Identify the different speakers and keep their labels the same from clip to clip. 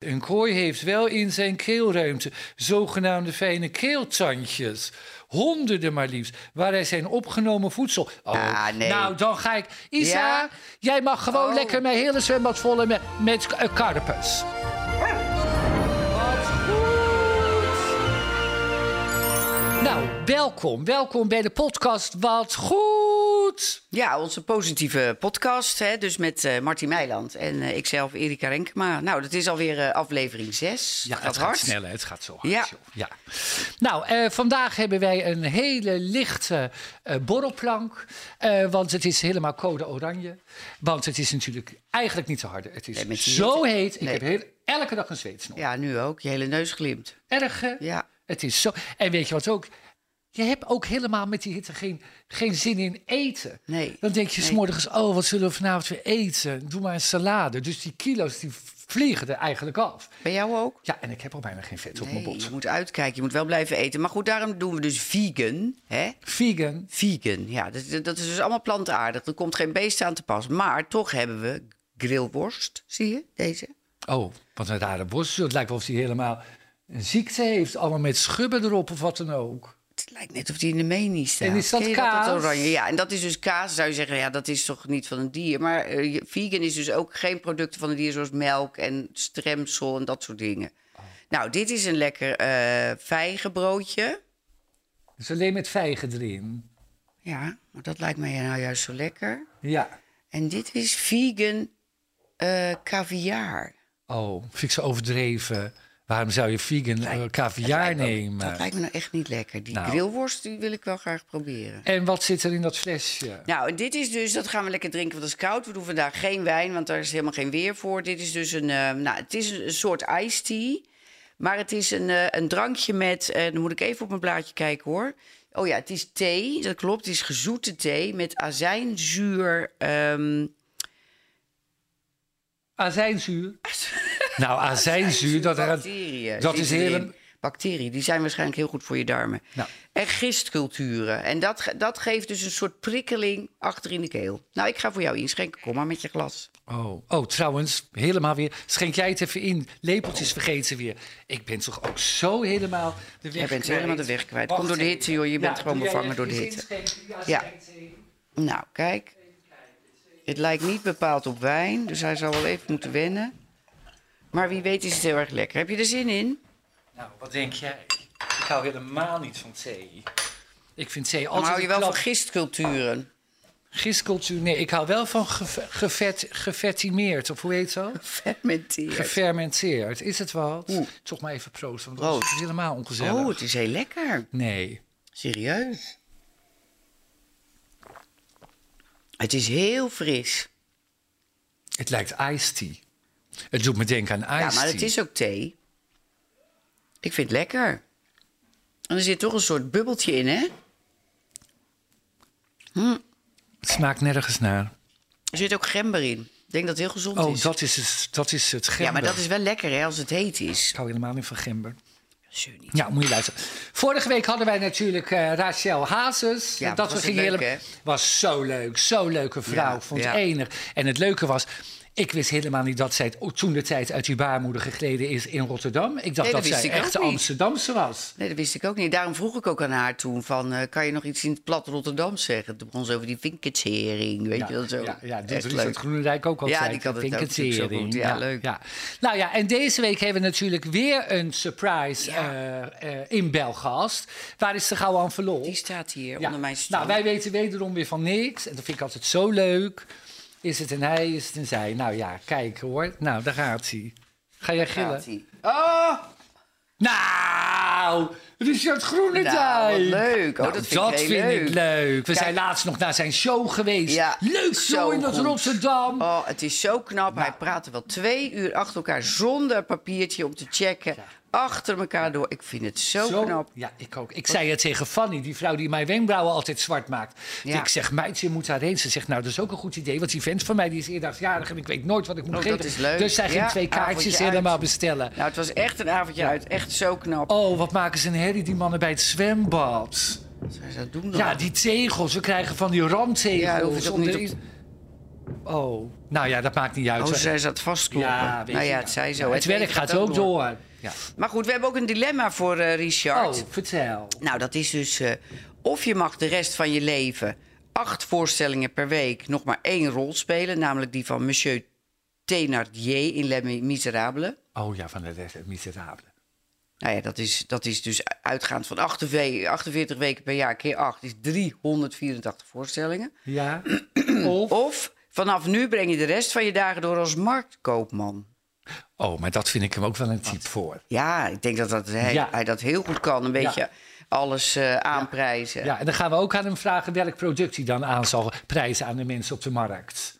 Speaker 1: Een kooi heeft wel in zijn keelruimte zogenaamde fijne keeltandjes. Honderden maar liefst, waar hij zijn opgenomen voedsel. Oh,
Speaker 2: Ah, nee.
Speaker 1: Nou, dan ga ik. Isa,
Speaker 2: Ja?
Speaker 1: jij mag gewoon
Speaker 2: Oh.
Speaker 1: lekker mijn hele zwembad vol met, met eh, karpers. Nou, welkom. Welkom bij de podcast Wat Goed.
Speaker 2: Ja, onze positieve podcast. Hè, dus met eh Martin Meiland en eh, ikzelf, Erika Renkema. Nou, dat is alweer eh, aflevering 6.
Speaker 1: Ja, het gaat sneller. Het gaat zo hard.
Speaker 2: Ja.
Speaker 1: joh. ja. Nou, eh, vandaag hebben wij een hele lichte eh, borrelplank. eh, want het is helemaal code oranje. Want het is natuurlijk eigenlijk niet te hard. Het is
Speaker 2: Nee, met die
Speaker 1: zo
Speaker 2: hitte.
Speaker 1: heet. Ik
Speaker 2: Nee.
Speaker 1: heb heel, elke dag een zweetsnop.
Speaker 2: Ja, nu ook. Je hele neus glimt.
Speaker 1: Erg, hè?
Speaker 2: Ja.
Speaker 1: Het is zo. En weet je wat ook? Je hebt ook helemaal met die hitte geen, geen zin in eten.
Speaker 2: Nee.
Speaker 1: Dan denk je
Speaker 2: Nee.
Speaker 1: s'morgens, oh, wat zullen we vanavond weer eten? Doe maar een salade. Dus die kilo's die vliegen er eigenlijk af.
Speaker 2: Bij jou ook?
Speaker 1: Ja, en ik heb al bijna geen vet op mijn
Speaker 2: Nee,
Speaker 1: bot.
Speaker 2: je moet uitkijken. Je moet wel blijven eten. Maar goed, daarom doen we dus vegan. Hè?
Speaker 1: Vegan.
Speaker 2: Vegan, ja. Dat, dat is dus allemaal plantaardig. Er komt geen beest aan te pas. Maar toch hebben we grillworst. Zie je? Deze.
Speaker 1: Oh, wat een rare worst. Het lijkt wel of hij helemaal een ziekte heeft. Allemaal met schubben erop of wat dan ook.
Speaker 2: Het lijkt net of die in de menu staat.
Speaker 1: En is dat
Speaker 2: Ken je dat,
Speaker 1: kaas?
Speaker 2: oranje? Ja, en dat is dus kaas. Zou je zeggen, ja, dat is toch niet van een dier. Maar eh, je- vegan is dus ook geen producten van een dier... zoals melk en stremsel en dat soort dingen.
Speaker 1: Oh.
Speaker 2: Nou, dit is een lekker eh vijgenbroodje.
Speaker 1: Dus alleen met vijgen erin.
Speaker 2: Ja, maar dat lijkt mij nou juist zo lekker.
Speaker 1: Ja.
Speaker 2: En dit is vegan eh caviar.
Speaker 1: Oh, vind ik zo overdreven. Waarom zou je vegan eh, caviar
Speaker 2: Dat
Speaker 1: nemen?
Speaker 2: lijkt me nou echt niet lekker. Die
Speaker 1: Nou.
Speaker 2: grillworst die wil ik wel graag proberen.
Speaker 1: En wat zit er in dat flesje?
Speaker 2: Nou, en dit is dus, dat gaan we lekker drinken, want dat is koud. We doen vandaag geen wijn, want daar is helemaal geen weer voor. Dit is dus een, eh, nou, het is een, een soort iced tea. Maar het is een, eh, een drankje met, eh, dan moet ik even op mijn blaadje kijken hoor. Oh ja, het is thee, dat klopt. Het is gezoete thee met azijnzuur. ehm,
Speaker 1: Azijnzuur. nou, azijnzuur, dat, er een-
Speaker 2: bacteriën.
Speaker 1: dat is
Speaker 2: zitten erin.
Speaker 1: heel...
Speaker 2: Bacteriën, die zijn waarschijnlijk heel goed voor je darmen.
Speaker 1: Nou.
Speaker 2: En gistculturen. En dat, ge- dat geeft dus een soort prikkeling achter in de keel. Nou, ik ga voor jou inschenken. Kom maar met je glas.
Speaker 1: Oh, oh, trouwens, helemaal weer. Schenk jij het even in. Lepeltjes vergeten weer. Ik ben toch ook zo helemaal de weg
Speaker 2: Jij bent helemaal de weg kwijt. Kom
Speaker 1: Wacht
Speaker 2: door de
Speaker 1: even.
Speaker 2: hitte, joh. Je bent
Speaker 1: Ja,
Speaker 2: gewoon
Speaker 1: doe jij
Speaker 2: bevangen door de
Speaker 1: even
Speaker 2: hitte.
Speaker 1: iets inschenken?
Speaker 2: Ja.
Speaker 1: schenk thee.
Speaker 2: Nou, kijk. Het lijkt niet bepaald op wijn, dus hij zal wel even moeten wennen. Maar wie weet is het heel erg lekker. Heb je er zin in?
Speaker 1: Nou, wat denk jij? Ik hou helemaal niet van thee. Ik vind thee
Speaker 2: Dan
Speaker 1: altijd...
Speaker 2: hou je wel
Speaker 1: een
Speaker 2: van
Speaker 1: klap-
Speaker 2: gistculturen.
Speaker 1: gistcultuur? Nee, ik hou wel van ge- gevet, gefetimeerd, of hoe heet dat?
Speaker 2: Fermenteerd.
Speaker 1: Gefermenteerd. Is het wat?
Speaker 2: Oeh.
Speaker 1: Toch maar even proost, want
Speaker 2: Proost.
Speaker 1: dat is helemaal ongezellig.
Speaker 2: Oh, het is heel lekker.
Speaker 1: Nee.
Speaker 2: Serieus? Het is heel fris.
Speaker 1: Het lijkt iced tea. Het doet me denken aan iced
Speaker 2: Ja, maar het
Speaker 1: tea.
Speaker 2: is ook thee. Ik vind het lekker. En er zit toch een soort bubbeltje in, hè?
Speaker 1: Het smaakt nergens naar.
Speaker 2: Er zit ook gember in. Ik denk dat het heel gezond
Speaker 1: Oh,
Speaker 2: is.
Speaker 1: dat is het, dat is het gember.
Speaker 2: Ja, maar dat is wel lekker, hè, als het heet is.
Speaker 1: Ik hou helemaal niet van gember.
Speaker 2: Zeur niet.
Speaker 1: Ja, moet je luisteren. Vorige week hadden wij natuurlijk eh, Rachel Hazes.
Speaker 2: Ja,
Speaker 1: dat
Speaker 2: was
Speaker 1: we
Speaker 2: het
Speaker 1: gingen
Speaker 2: leuk,
Speaker 1: helemaal-
Speaker 2: hè?
Speaker 1: was zo leuk. Zo leuke vrouw.
Speaker 2: Ja,
Speaker 1: ik vond
Speaker 2: ja.
Speaker 1: enig. En het leuke was, ik wist helemaal niet dat zij oh, toen de tijd uit die baarmoeder gegleden is in Rotterdam. Ik dacht
Speaker 2: Nee,
Speaker 1: dat,
Speaker 2: dat wist
Speaker 1: zij
Speaker 2: ik ook
Speaker 1: echt de
Speaker 2: niet.
Speaker 1: Amsterdamse was.
Speaker 2: Nee, dat wist ik ook niet. Daarom vroeg ik ook aan haar toen van... eh, kan je nog iets in het plat Rotterdam zeggen? Toen begon ze over die vinkertshering, weet je wel zo.
Speaker 1: Ja, ja
Speaker 2: Echt
Speaker 1: doet Richard Groenendijk ook altijd.
Speaker 2: Ja, die kan het
Speaker 1: Vind ik
Speaker 2: ook
Speaker 1: het
Speaker 2: natuurlijk zo
Speaker 1: zeer
Speaker 2: goed.
Speaker 1: in.
Speaker 2: Ja, leuk.
Speaker 1: Nou ja, en deze week hebben we natuurlijk weer een surprise eh, eh, in Belgast. Waar is de gauw aan verloren?
Speaker 2: Die staat hier
Speaker 1: Ja.
Speaker 2: onder mijn stoel.
Speaker 1: Nou, wij weten wederom weer van niks. En dat vind ik altijd zo leuk. Is het een hij, is het een zij? Nou ja, kijk hoor. Nou, daar gaat hij. Ga jij gillen?
Speaker 2: Gaat-ie. Oh!
Speaker 1: Nou, Richard Groenendijk.
Speaker 2: Nou, wat leuk. Oh, dat vind ik heel leuk.
Speaker 1: ik leuk. We
Speaker 2: Kijk.
Speaker 1: zijn laatst nog naar zijn show geweest.
Speaker 2: Ja,
Speaker 1: leuk
Speaker 2: zo
Speaker 1: show in dat
Speaker 2: goed.
Speaker 1: Rotterdam.
Speaker 2: Oh, het is zo knap.
Speaker 1: Nou.
Speaker 2: Hij praatte wel twee uur achter elkaar zonder papiertje om te checken. Achter elkaar door. Ik vind het zo,
Speaker 1: Zo-
Speaker 2: knap.
Speaker 1: Ja, ik ook. Ik zei het tegen Fanny, die vrouw die mijn wenkbrauwen altijd zwart maakt.
Speaker 2: Ja.
Speaker 1: Ik zeg, meid, je moet daarheen. Ze zegt, nou, dat is ook een goed idee. Want die vent van mij die is eerdaagsjarig en ik weet nooit wat ik moet
Speaker 2: Oh,
Speaker 1: geven.
Speaker 2: dat is leuk.
Speaker 1: Dus zij ging
Speaker 2: Ja,
Speaker 1: twee kaartjes
Speaker 2: avondje
Speaker 1: helemaal
Speaker 2: uit.
Speaker 1: bestellen.
Speaker 2: Nou, het was echt een avondje uit. Echt zo knap.
Speaker 1: Oh, wat maken ze een herrie, die mannen bij het zwembad.
Speaker 2: Wat zou ze dat doen dan?
Speaker 1: Ja, die tegels. We krijgen van die
Speaker 2: Ja, hoef
Speaker 1: randtegels.
Speaker 2: je dat
Speaker 1: om
Speaker 2: niet
Speaker 1: de-
Speaker 2: op-
Speaker 1: Oh, nou ja, dat maakt niet uit.
Speaker 2: Oh, zij zat vastkloppen.
Speaker 1: Ja, weet
Speaker 2: nou
Speaker 1: je
Speaker 2: ja,
Speaker 1: wel.
Speaker 2: het zei zo.
Speaker 1: het werk gaat ook door. Ja.
Speaker 2: Maar goed, we hebben ook een dilemma voor eh,
Speaker 1: Oh,
Speaker 2: Richard.
Speaker 1: vertel.
Speaker 2: Nou, dat is dus... eh, of je mag de rest van je leven acht voorstellingen per week... nog maar één rol spelen. Namelijk die van Monsieur Thénardier in Les Miserables.
Speaker 1: Oh ja, van de Les Misérables.
Speaker 2: Nou ja, dat is, dat is dus uitgaand van 48, 48 weken per jaar keer 8... is 384 voorstellingen.
Speaker 1: Ja. of...
Speaker 2: Of vanaf nu breng je de rest van je dagen door als marktkoopman.
Speaker 1: Oh, maar dat vind ik hem ook wel een type voor.
Speaker 2: Ja, ik denk dat, dat hij,
Speaker 1: Ja.
Speaker 2: hij dat heel goed kan. Een beetje alles eh, aanprijzen.
Speaker 1: Ja, en dan gaan we ook aan hem vragen welk product hij dan aan zal prijzen aan de mensen op de markt. Ja,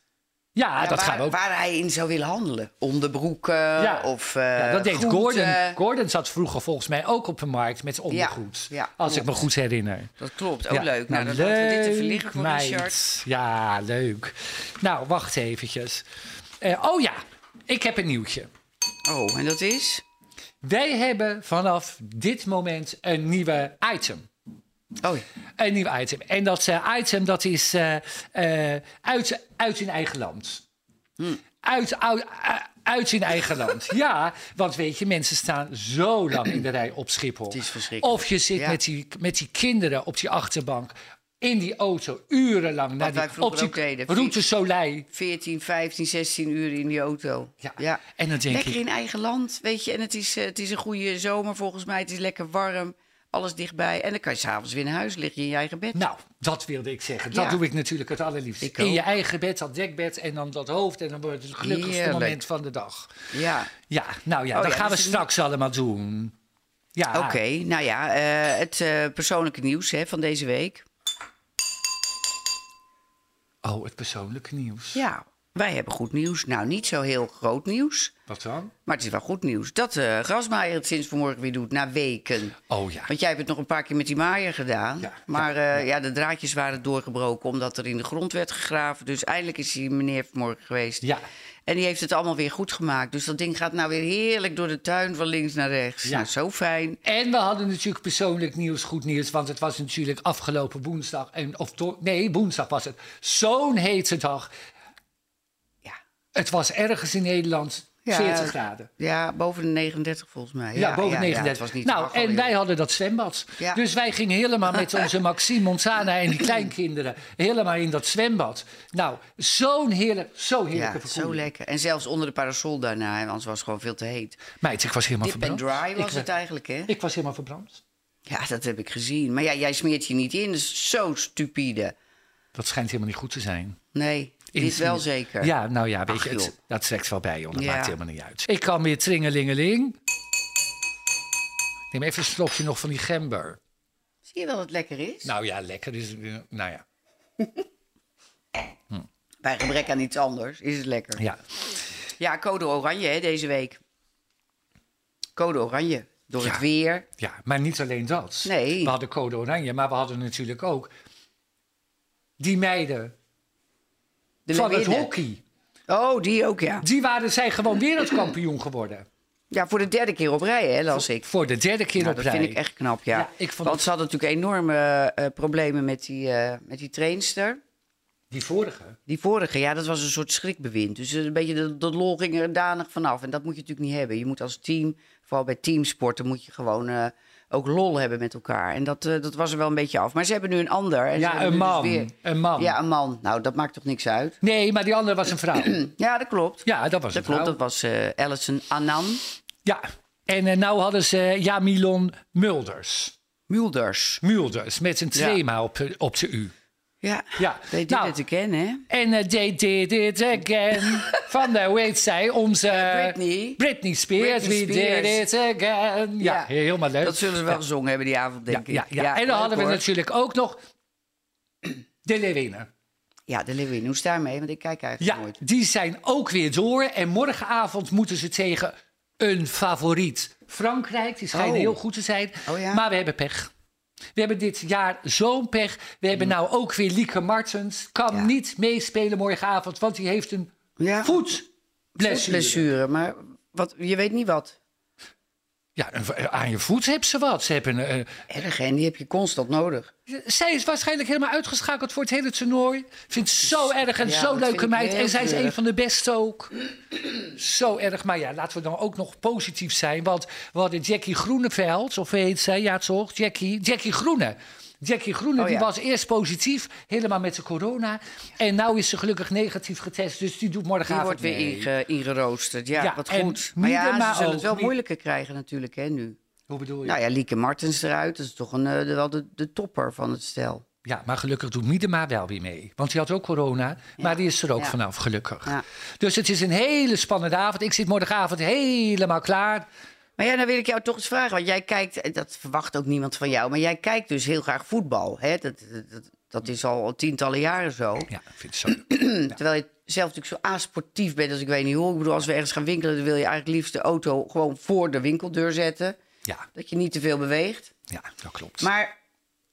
Speaker 2: Ja,
Speaker 1: Ah, dat
Speaker 2: waar,
Speaker 1: gaan we ook.
Speaker 2: waar hij in zou willen handelen. Onderbroeken
Speaker 1: Ja.
Speaker 2: of eh
Speaker 1: Ja, dat deed
Speaker 2: groenten.
Speaker 1: Gordon. Gordon zat vroeger volgens mij ook op de markt met ondergoed.
Speaker 2: Ja, ja,
Speaker 1: als ik me
Speaker 2: klopt.
Speaker 1: goed herinner.
Speaker 2: Dat klopt, ook
Speaker 1: Ja,
Speaker 2: leuk. Nou, dan laten we dit even liggen voor Richard.
Speaker 1: Ja, leuk. Nou, wacht eventjes. Eh, oh ja, ik heb een nieuwtje.
Speaker 2: Oh, en dat is?
Speaker 1: Wij hebben vanaf dit moment een nieuwe item.
Speaker 2: Oh, ja.
Speaker 1: Een nieuw item. En dat eh, item dat is eh, eh, uit, uit in eigen land.
Speaker 2: Hmm.
Speaker 1: Uit, uit, uit in eigen land. Ja, want weet je, mensen staan zo lang in de rij op Schiphol.
Speaker 2: Het is verschrikkelijk.
Speaker 1: Of je zit
Speaker 2: Ja.
Speaker 1: met, die, met die kinderen op die achterbank in die auto urenlang naar
Speaker 2: wij
Speaker 1: die,
Speaker 2: vroeger
Speaker 1: op die
Speaker 2: ook deden.
Speaker 1: route Soleil.
Speaker 2: 14, 15, 16 uur in die auto.
Speaker 1: Ja. En dan denk
Speaker 2: Lekker
Speaker 1: ik,
Speaker 2: in eigen land, weet je. En het is, eh, het is een goede zomer volgens mij. Het is lekker warm, alles dichtbij. En dan kan je s'avonds weer naar huis liggen in je eigen bed.
Speaker 1: nou, dat wilde ik zeggen. Dat
Speaker 2: Ja.
Speaker 1: doe ik natuurlijk het allerliefst.
Speaker 2: Ik
Speaker 1: in je
Speaker 2: ook.
Speaker 1: eigen bed, dat dekbed en dan dat hoofd. En dan wordt het het gelukkigste
Speaker 2: Heerlijk.
Speaker 1: moment van de dag.
Speaker 2: Ja,
Speaker 1: Ja, nou ja,
Speaker 2: Oh
Speaker 1: dat
Speaker 2: ja,
Speaker 1: gaan
Speaker 2: dus
Speaker 1: we
Speaker 2: een-
Speaker 1: straks allemaal doen. Ja,
Speaker 2: oké. Nou ja, eh, het eh, persoonlijke nieuws hè, van deze week.
Speaker 1: oh, het persoonlijke nieuws.
Speaker 2: Ja, wij hebben goed nieuws. Nou, niet zo heel groot nieuws,
Speaker 1: Wat dan?
Speaker 2: maar het is wel goed nieuws. Dat eh Grasmaaier het sinds vanmorgen weer doet, na weken.
Speaker 1: Oh ja.
Speaker 2: Want jij hebt het nog een paar keer met die maaier gedaan.
Speaker 1: Ja,
Speaker 2: maar eh, ja, de draadjes waren doorgebroken omdat er in de grond werd gegraven. Dus eindelijk is die meneer vanmorgen geweest.
Speaker 1: Ja.
Speaker 2: En die heeft het allemaal weer goed gemaakt. Dus dat ding gaat nou weer heerlijk door de tuin van links naar rechts.
Speaker 1: Ja.
Speaker 2: Nou, zo fijn.
Speaker 1: En we hadden natuurlijk persoonlijk nieuws, goed nieuws. Want het was natuurlijk afgelopen woensdag. En, of do- nee, woensdag was het. Zo'n hete dag.
Speaker 2: Ja.
Speaker 1: Het was ergens in Nederland
Speaker 2: Ja,
Speaker 1: 40 graden.
Speaker 2: Ja, boven de 39 volgens mij.
Speaker 1: Ja, boven
Speaker 2: ja,
Speaker 1: 39.
Speaker 2: het was niet te
Speaker 1: nou,
Speaker 2: wachten,
Speaker 1: en
Speaker 2: joh.
Speaker 1: wij hadden dat zwembad.
Speaker 2: Ja.
Speaker 1: Dus wij gingen helemaal met onze Maxime Montana en die kleinkinderen helemaal in dat zwembad. Nou, zo'n heerlijk, zo heerlijke
Speaker 2: Ja, zo
Speaker 1: verkoeling.
Speaker 2: lekker. En zelfs onder de parasol daarna, hè, anders was het gewoon veel te heet.
Speaker 1: Meid, ik was helemaal
Speaker 2: Dip and
Speaker 1: verbrand.
Speaker 2: dry was
Speaker 1: ik, eh,
Speaker 2: het eigenlijk, hè?
Speaker 1: ik was helemaal verbrand.
Speaker 2: Ja, dat heb ik gezien. Maar ja, jij smeert je niet in. Dat is zo stupide.
Speaker 1: Dat schijnt helemaal niet goed te zijn.
Speaker 2: Nee, dit wel zeker.
Speaker 1: Ja, nou ja, weet
Speaker 2: Ach,
Speaker 1: je, het-
Speaker 2: joh.
Speaker 1: dat trekt wel bij, joh. Dat
Speaker 2: Ja.
Speaker 1: maakt helemaal niet uit. Ik kan weer tringelingeling. Neem even een slokje nog van die gember.
Speaker 2: Zie je wel dat het lekker is?
Speaker 1: Nou ja, lekker is het, eh, Nou ja,
Speaker 2: Bij gebrek aan iets anders is het lekker. Ja,
Speaker 1: ja.
Speaker 2: code oranje hè, deze week. Code oranje. Door
Speaker 1: Ja.
Speaker 2: het weer.
Speaker 1: ja. Maar niet alleen dat.
Speaker 2: Nee.
Speaker 1: We hadden code oranje, maar we hadden natuurlijk ook... die meiden
Speaker 2: De
Speaker 1: van het
Speaker 2: leeuwinnen.
Speaker 1: hockey.
Speaker 2: Oh, die ook, ja.
Speaker 1: Die waren, zijn gewoon wereldkampioen geworden.
Speaker 2: Ja, voor de derde keer op rij, hè, las ik.
Speaker 1: Voor de derde keer
Speaker 2: Nou,
Speaker 1: op
Speaker 2: dat
Speaker 1: rij.
Speaker 2: vind ik echt knap, ja.
Speaker 1: Ja, ik vond
Speaker 2: Want
Speaker 1: het-
Speaker 2: ze hadden natuurlijk enorme eh, problemen met die, eh, met die trainster.
Speaker 1: Die vorige.
Speaker 2: Die vorige, ja, dat was een soort schrikbewind. Dus een beetje dat, dat lol ging er danig vanaf. En dat moet je natuurlijk niet hebben. Je moet als team, vooral bij teamsporten, moet je gewoon eh, ook lol hebben met elkaar. En dat, eh, dat was er wel een beetje af. Maar ze hebben nu een ander. En ze
Speaker 1: Ja,
Speaker 2: hebben
Speaker 1: een
Speaker 2: nu dus
Speaker 1: man.
Speaker 2: weer-
Speaker 1: Een man.
Speaker 2: Ja, een man. Nou, dat maakt toch niks uit?
Speaker 1: Nee, maar die andere was een vrouw.
Speaker 2: Ja, dat klopt.
Speaker 1: Ja, dat was
Speaker 2: dat
Speaker 1: een vrouw.
Speaker 2: klopt. Dat was eh Alison Anan
Speaker 1: Ja, en eh, nou hadden ze eh, Jamilon Mulders.
Speaker 2: Mulders.
Speaker 1: Mulders, met een trema op, de- op de U.
Speaker 2: Ja,
Speaker 1: Ja,
Speaker 2: weet je
Speaker 1: nou,
Speaker 2: dit te kennen, hè?
Speaker 1: En eh, they did it again. Van de, hoe heet zij? Onze
Speaker 2: Britney.
Speaker 1: Britney Spears.
Speaker 2: Britney
Speaker 1: We did it again. Ja,
Speaker 2: Ja,
Speaker 1: helemaal leuk.
Speaker 2: Dat zullen ze wel gezongen hebben die avond,
Speaker 1: ja,
Speaker 2: denk
Speaker 1: eh, ja,
Speaker 2: ik.
Speaker 1: ja. En dan
Speaker 2: leuk,
Speaker 1: hadden we
Speaker 2: hoor.
Speaker 1: natuurlijk ook nog de Leeuwinnen.
Speaker 2: Ja, de Lewin, hoe sta je mee? Want ik kijk eigenlijk
Speaker 1: Ja,
Speaker 2: nooit.
Speaker 1: die zijn ook weer door. En morgenavond moeten ze tegen een favoriet. Frankrijk, die schijnen
Speaker 2: Oh.
Speaker 1: heel goed te zijn.
Speaker 2: Oh ja?
Speaker 1: Maar we hebben pech. We hebben dit jaar zo'n pech. We hebben nou ook weer Lieke Martens. Kan
Speaker 2: Mm. Ja.
Speaker 1: niet meespelen morgenavond, want die heeft een
Speaker 2: Ja.
Speaker 1: voetblessure.
Speaker 2: blessure, maar wat, je weet niet wat.
Speaker 1: Ja, een v- aan je voet hebben ze wat. Ze hebben een, eh,
Speaker 2: Erg, hè? en die heb je constant nodig.
Speaker 1: Zij is waarschijnlijk helemaal uitgeschakeld voor het hele toernooi. Vindt het zo erg en
Speaker 2: Ja,
Speaker 1: zo
Speaker 2: dat vind
Speaker 1: leuke
Speaker 2: ik
Speaker 1: meid.
Speaker 2: heel
Speaker 1: En zij is
Speaker 2: treurig.
Speaker 1: een van de beste ook. zo erg. Maar ja, laten we dan ook nog positief zijn. Want we hadden Jackie Groeneveld, of hoe heet zij? Ja, toch? Jackie, Jackie Groene. Jackie Groene
Speaker 2: Oh,
Speaker 1: die
Speaker 2: ja.
Speaker 1: was eerst positief, helemaal met de corona. En nu is ze gelukkig negatief getest. Dus die doet
Speaker 2: Die
Speaker 1: morgenavond
Speaker 2: wordt weer
Speaker 1: mee.
Speaker 2: inge- ingeroosterd. Ja,
Speaker 1: Ja,
Speaker 2: wat
Speaker 1: en
Speaker 2: goed. Maar ja,
Speaker 1: Miedema
Speaker 2: ze zullen
Speaker 1: ook.
Speaker 2: het wel
Speaker 1: Mi-
Speaker 2: moeilijker krijgen natuurlijk, hè, nu.
Speaker 1: Hoe bedoel je?
Speaker 2: Nou ja, Lieke Martens eruit. Dat is toch een, eh, de- wel de, de topper van het stel.
Speaker 1: Ja, maar gelukkig doet Miedema wel weer mee. Want die had ook corona, maar die is er ook
Speaker 2: Ja.
Speaker 1: vanaf, gelukkig.
Speaker 2: Ja.
Speaker 1: Dus het is een hele spannende avond. Ik zit morgenavond helemaal klaar.
Speaker 2: Maar ja, dan wil ik jou toch eens vragen. Want jij kijkt, eh, dat verwacht ook niemand van jou. Maar jij kijkt dus heel graag voetbal. Hè? Dat, dat- dat, dat is al tientallen jaren zo.
Speaker 1: Ja, ik vind het zo leuk.
Speaker 2: Terwijl je zelf natuurlijk zo asportief bent als ik weet niet hoe. Ik bedoel, als we ergens gaan winkelen, dan wil je eigenlijk liefst de auto gewoon voor de winkeldeur zetten.
Speaker 1: Ja,
Speaker 2: Dat je niet te veel beweegt.
Speaker 1: ja, dat klopt.
Speaker 2: Maar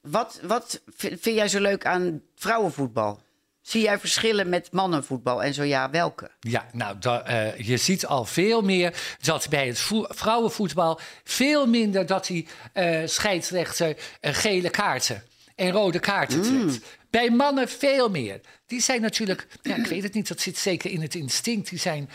Speaker 2: wat, wat v- vind jij zo leuk aan vrouwenvoetbal? Zie jij verschillen met mannenvoetbal? En zo ja, welke?
Speaker 1: Ja, nou, da- eh, je ziet al veel meer dat bij het vo- vrouwenvoetbal veel minder dat die eh, scheidsrechter eh, gele kaarten en rode kaarten
Speaker 2: Mm.
Speaker 1: trekt. Bij mannen veel meer. Die zijn natuurlijk, ja, ik weet het niet, dat zit zeker in het instinct. Die zijn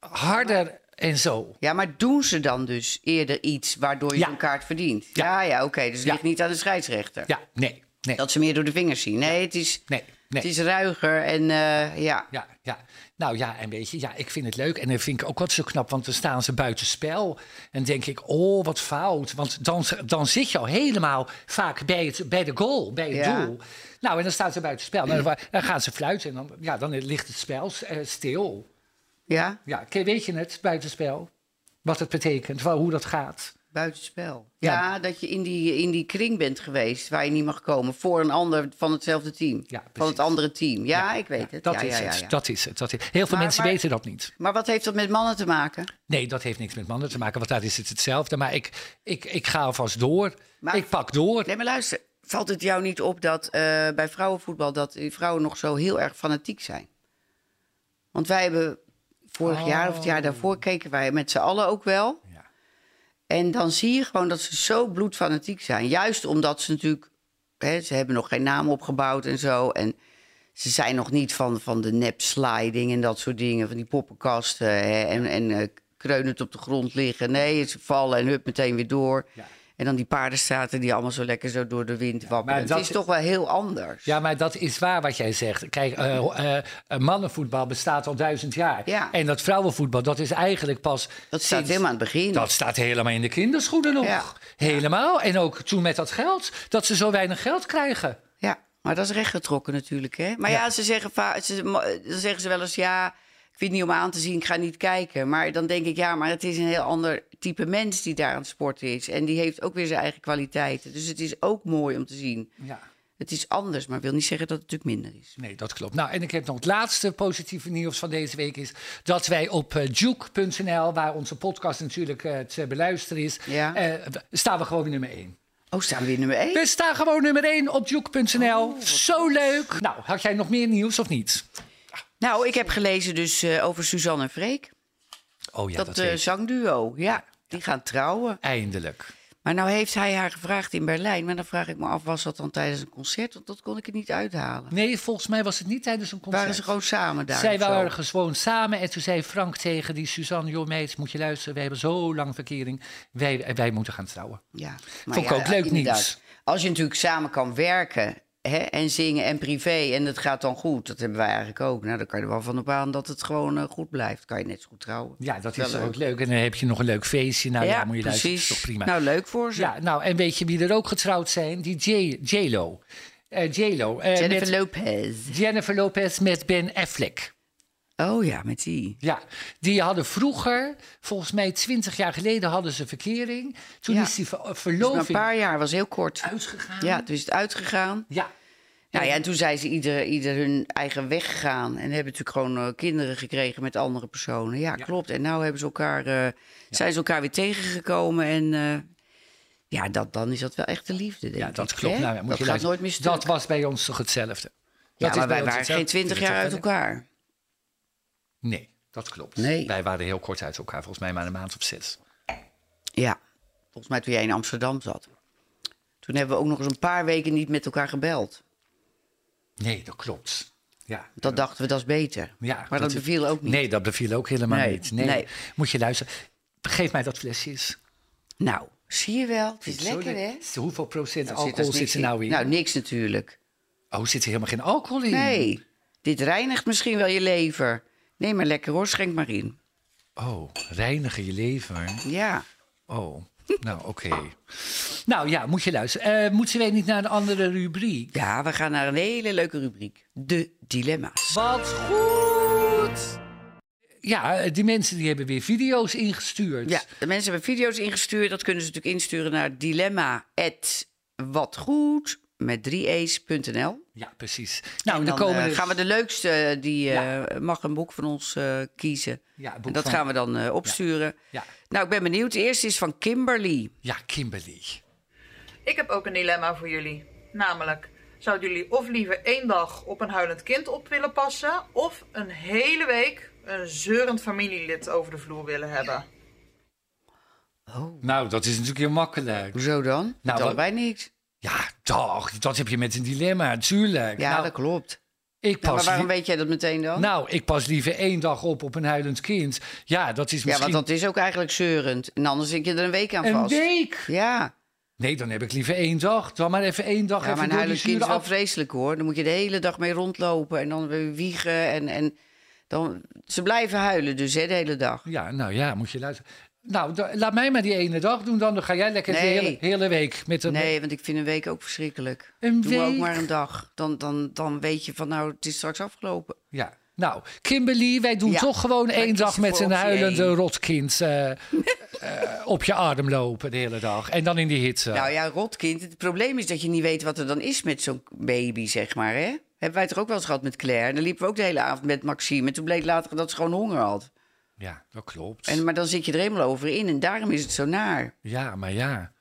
Speaker 1: eh, harder en zo.
Speaker 2: Ja, maar doen ze dan dus eerder iets waardoor je
Speaker 1: Ja.
Speaker 2: een kaart verdient? Ja,
Speaker 1: Ja.
Speaker 2: ja, oké. dus het
Speaker 1: Ja.
Speaker 2: ligt niet aan de scheidsrechter.
Speaker 1: Ja, nee, nee,
Speaker 2: Dat ze meer door de vingers zien. Nee, het is,
Speaker 1: nee, nee.
Speaker 2: Het is ruiger en eh, ja.
Speaker 1: Ja, ja. Nou ja, en weet je, ja, ik vind het leuk. En dan vind ik ook wat zo knap, want dan staan ze buitenspel. En denk ik, oh, wat fout. Want dan, dan zit je al helemaal vaak bij, het, bij de goal, bij het
Speaker 2: Ja.
Speaker 1: doel. Nou, en dan staan ze buitenspel. Nou, dan, dan gaan ze fluiten en dan, ja, dan ligt het spel eh, stil.
Speaker 2: Ja,
Speaker 1: Ja, ken- weet je het, buitenspel? Wat het betekent, wa- hoe dat gaat.
Speaker 2: buitenspel. Ja,
Speaker 1: Ja.
Speaker 2: dat je in die, in die kring bent geweest waar je niet mag komen voor een ander van hetzelfde team.
Speaker 1: Ja,
Speaker 2: van het
Speaker 1: precies.
Speaker 2: andere team. Ja, ik weet het.
Speaker 1: Dat,
Speaker 2: Ja,
Speaker 1: is
Speaker 2: ja, ja,
Speaker 1: het
Speaker 2: ja.
Speaker 1: dat is het. Dat is Heel veel
Speaker 2: Maar-
Speaker 1: mensen
Speaker 2: maar-
Speaker 1: weten dat niet.
Speaker 2: Maar wat heeft dat met mannen te maken?
Speaker 1: Nee, dat heeft niks met mannen te maken, want daar is het hetzelfde. Maar ik, ik, ik ga alvast door.
Speaker 2: Maar-
Speaker 1: ik pak door.
Speaker 2: Nee, maar luister. Valt het jou niet op dat eh, bij vrouwenvoetbal... dat die vrouwen nog zo heel erg fanatiek zijn? Want wij hebben vorig jaar of het jaar daarvoor... keken wij met z'n allen ook wel.
Speaker 1: Ja.
Speaker 2: En dan zie je gewoon dat ze zo bloedfanatiek zijn. Juist omdat ze natuurlijk... Hè, ze hebben nog geen naam opgebouwd en zo. En ze zijn nog niet van, van de nep-sliding en dat soort dingen. Van die poppenkasten hè, en, en eh, kreunend op de grond liggen. Nee, ze vallen en hup, meteen weer door.
Speaker 1: Ja.
Speaker 2: En dan die paardenstaten die allemaal zo lekker zo door de wind wapperen.
Speaker 1: maar
Speaker 2: Het
Speaker 1: dat-
Speaker 2: is toch wel heel anders.
Speaker 1: Ja, maar dat is waar wat jij zegt. Kijk, eh, eh, eh, mannenvoetbal bestaat al duizend jaar.
Speaker 2: Ja.
Speaker 1: En dat vrouwenvoetbal, dat is eigenlijk pas...
Speaker 2: Dat zit helemaal aan het begin.
Speaker 1: Dat staat helemaal in de kinderschoenen nog.
Speaker 2: Ja.
Speaker 1: Helemaal. En ook toen met dat geld, dat ze zo weinig geld krijgen.
Speaker 2: Ja, maar dat is rechtgetrokken natuurlijk. Hè? Maar ja, ze zeggen va- ze, mo- dan zeggen ze wel eens ja. Ik vind het niet om aan te zien, ik ga niet kijken. Maar dan denk ik, ja, maar het is een heel ander type mens die daar aan het sporten is. En die heeft ook weer zijn eigen kwaliteiten. Dus het is ook mooi om te zien.
Speaker 1: Ja.
Speaker 2: Het is anders, maar wil niet zeggen dat het natuurlijk minder is.
Speaker 1: Nee, dat klopt. Nou, en ik heb nog het laatste positieve nieuws van deze week is dat wij op eh, juke.nl, waar onze podcast natuurlijk eh, te beluisteren is,
Speaker 2: Ja.
Speaker 1: eh, w- staan we gewoon weer nummer één.
Speaker 2: Oh, staan we weer nummer één?
Speaker 1: We staan gewoon nummer één op juke.nl.
Speaker 2: Oh,
Speaker 1: Zo leuk. Nou, had jij nog meer nieuws of niet?
Speaker 2: Nou, ik heb gelezen dus eh, over Suzanne en Freek.
Speaker 1: Oh ja,
Speaker 2: dat
Speaker 1: dat,
Speaker 2: eh,
Speaker 1: weet ik.
Speaker 2: zangduo, ja. Die gaan trouwen.
Speaker 1: Eindelijk.
Speaker 2: Maar nou heeft hij haar gevraagd in Berlijn. Maar dan vraag ik me af, was dat dan tijdens een concert? Want dat kon ik er niet uithalen.
Speaker 1: Nee, volgens mij was het niet tijdens een concert.
Speaker 2: Waren ze gewoon samen daar?
Speaker 1: Zij
Speaker 2: of zo?
Speaker 1: waren gewoon samen en toen zei Frank tegen die Suzanne... joh meid, moet je luisteren, wij hebben zo lang verkering. Wij, wij moeten gaan trouwen.
Speaker 2: Ja,
Speaker 1: Vond ik ook leuk
Speaker 2: inderdaad.
Speaker 1: nieuws.
Speaker 2: Als je natuurlijk samen kan werken hè, en zingen en privé en het gaat dan goed, dat hebben wij eigenlijk ook. Nou, dan kan je er wel van op aan dat het gewoon eh, goed blijft. Kan je net zo goed trouwen.
Speaker 1: Ja, dat
Speaker 2: Wel
Speaker 1: is toch ook leuk. En dan heb je nog een leuk feestje. Nou ja, moet je luisteren, dat is toch prima.
Speaker 2: Nou, leuk voor ze.
Speaker 1: ja, nou, en weet je wie er ook getrouwd zijn? Die J- J-Lo. Eh, J-Lo. eh,
Speaker 2: Jennifer
Speaker 1: met
Speaker 2: Lopez.
Speaker 1: Jennifer Lopez met Ben Affleck.
Speaker 2: Oh ja, met die.
Speaker 1: Ja, die hadden vroeger, volgens mij 20 jaar geleden, hadden ze verkering. Toen
Speaker 2: Ja.
Speaker 1: is die ver-
Speaker 2: Dus maar
Speaker 1: verloving
Speaker 2: een paar jaar was heel kort.
Speaker 1: uitgegaan.
Speaker 2: Ja, toen is het uitgegaan.
Speaker 1: Ja,
Speaker 2: Nou ja, en toen zijn ze ieder, ieder hun eigen weg gegaan. En hebben natuurlijk gewoon eh, kinderen gekregen met andere personen. Ja, klopt. En nou hebben ze elkaar, eh, zijn ze elkaar weer tegengekomen. En eh, ja, dat, dan is dat wel echt de liefde, denk
Speaker 1: ja
Speaker 2: ik,
Speaker 1: dat klopt.
Speaker 2: hè?
Speaker 1: Nou, ja, moet
Speaker 2: dat
Speaker 1: je
Speaker 2: gaat
Speaker 1: luisteren.
Speaker 2: nooit meer stuk.
Speaker 1: Dat was bij ons toch hetzelfde?
Speaker 2: ja,
Speaker 1: dat
Speaker 2: maar
Speaker 1: bij
Speaker 2: wij
Speaker 1: ons
Speaker 2: waren geen
Speaker 1: hetzelfde.
Speaker 2: twintig jaar uit elkaar.
Speaker 1: Nee, dat klopt.
Speaker 2: Nee.
Speaker 1: Wij waren heel kort uit elkaar, volgens mij maar een maand of zes.
Speaker 2: Ja. Volgens mij toen jij in Amsterdam zat. Toen hebben we ook nog eens een paar weken niet met elkaar gebeld.
Speaker 1: Nee, dat klopt. Ja.
Speaker 2: Dat dachten we, dat is beter.
Speaker 1: Ja,
Speaker 2: maar dat,
Speaker 1: is-
Speaker 2: beviel ook niet.
Speaker 1: Nee, dat beviel ook helemaal
Speaker 2: Nee,
Speaker 1: niet. Nee.
Speaker 2: nee.
Speaker 1: Moet je luisteren. Geef mij dat flesje eens.
Speaker 2: Nou, zie je wel. Het is
Speaker 1: Zo
Speaker 2: lekker, hè?
Speaker 1: le- Hoeveel procent
Speaker 2: Daar
Speaker 1: alcohol
Speaker 2: dus
Speaker 1: zit,
Speaker 2: niks
Speaker 1: er nou in?
Speaker 2: Nou, niks natuurlijk.
Speaker 1: oh, zit er helemaal geen alcohol in?
Speaker 2: Nee, dit reinigt misschien wel je lever. Neem maar lekker hoor, schenk maar in.
Speaker 1: Oh, reinigen je lever.
Speaker 2: Ja.
Speaker 1: Oh, nou oké. Nou ja, moet je luisteren. Eh, moeten we niet naar een andere rubriek?
Speaker 2: ja, we gaan naar een hele leuke rubriek. De dilemma's.
Speaker 1: Wat goed! Ja, eh, die mensen die hebben weer video's ingestuurd.
Speaker 2: Ja, de mensen hebben video's ingestuurd. Dat kunnen ze natuurlijk insturen naar dilemma.watgoed met 3e's.nl.
Speaker 1: Ja, precies. Nou,
Speaker 2: en dan
Speaker 1: dan komen
Speaker 2: eh,
Speaker 1: er-
Speaker 2: gaan we de leukste, die
Speaker 1: Ja.
Speaker 2: eh, mag een boek van ons eh, kiezen.
Speaker 1: Ja, een boek
Speaker 2: en dat
Speaker 1: van-
Speaker 2: gaan we dan eh, opsturen.
Speaker 1: Ja.
Speaker 2: Nou, ik ben benieuwd. Eerst is van Kimberly.
Speaker 1: Ja, Kimberly.
Speaker 3: Ik heb ook een dilemma voor jullie. Namelijk, zouden jullie of liever één dag op een huilend kind op willen passen... of een hele week een zeurend familielid over de vloer willen hebben?
Speaker 1: Nou, dat is natuurlijk heel makkelijk.
Speaker 2: Hoezo dan? Nou,
Speaker 1: wat-
Speaker 2: allebei niks.
Speaker 1: Ja, toch. Dat heb je met een dilemma, natuurlijk.
Speaker 2: Ja,
Speaker 1: nou,
Speaker 2: dat klopt.
Speaker 1: ik
Speaker 2: Ja,
Speaker 1: pas
Speaker 2: maar waarom
Speaker 1: li-
Speaker 2: weet jij dat meteen dan?
Speaker 1: nou, ik pas liever één dag op op een huilend kind. Ja, dat is
Speaker 2: ja,
Speaker 1: misschien
Speaker 2: want dat is ook eigenlijk zeurend. En anders zit je er een week aan
Speaker 1: een
Speaker 2: vast.
Speaker 1: week.
Speaker 2: Ja,
Speaker 1: Nee, dan heb ik liever één dag. Dan maar even één dag
Speaker 2: ja maar
Speaker 1: even door
Speaker 2: een
Speaker 1: die
Speaker 2: huilend kind
Speaker 1: zure
Speaker 2: is wel
Speaker 1: af...
Speaker 2: vreselijk hoor. Dan moet je de hele dag mee rondlopen en dan weer wiegen. En, en dan, ze blijven huilen dus hè, de hele dag.
Speaker 1: Ja, nou ja, moet je luisteren. Nou, da- laat mij maar die ene dag doen dan. Dan ga jij lekker
Speaker 2: Nee.
Speaker 1: de hele, hele week met een...
Speaker 2: Nee, want ik vind een week ook verschrikkelijk.
Speaker 1: Een
Speaker 2: Doe maar ook
Speaker 1: week?
Speaker 2: maar een dag. Dan, dan, dan weet je van nou, het is straks afgelopen.
Speaker 1: Ja. Nou, Kimberly, wij doen
Speaker 2: Ja,
Speaker 1: toch gewoon
Speaker 2: wij
Speaker 1: één dag
Speaker 2: kiezen
Speaker 1: met
Speaker 2: voor
Speaker 1: een
Speaker 2: optie
Speaker 1: huilende
Speaker 2: één.
Speaker 1: rotkind eh, eh, op je arm lopen de hele dag. En dan in die hitte.
Speaker 2: Nou ja, rotkind. Het probleem is dat je niet weet wat er dan is met zo'n baby, zeg maar. Hè? Hebben wij toch ook wel eens gehad met Claire? En dan liepen we ook de hele avond met Maxime. En toen bleek later dat ze gewoon honger had.
Speaker 1: ja, dat klopt.
Speaker 2: En, maar dan zit je er helemaal over in. En daarom is het zo naar.
Speaker 1: Ja, maar ja.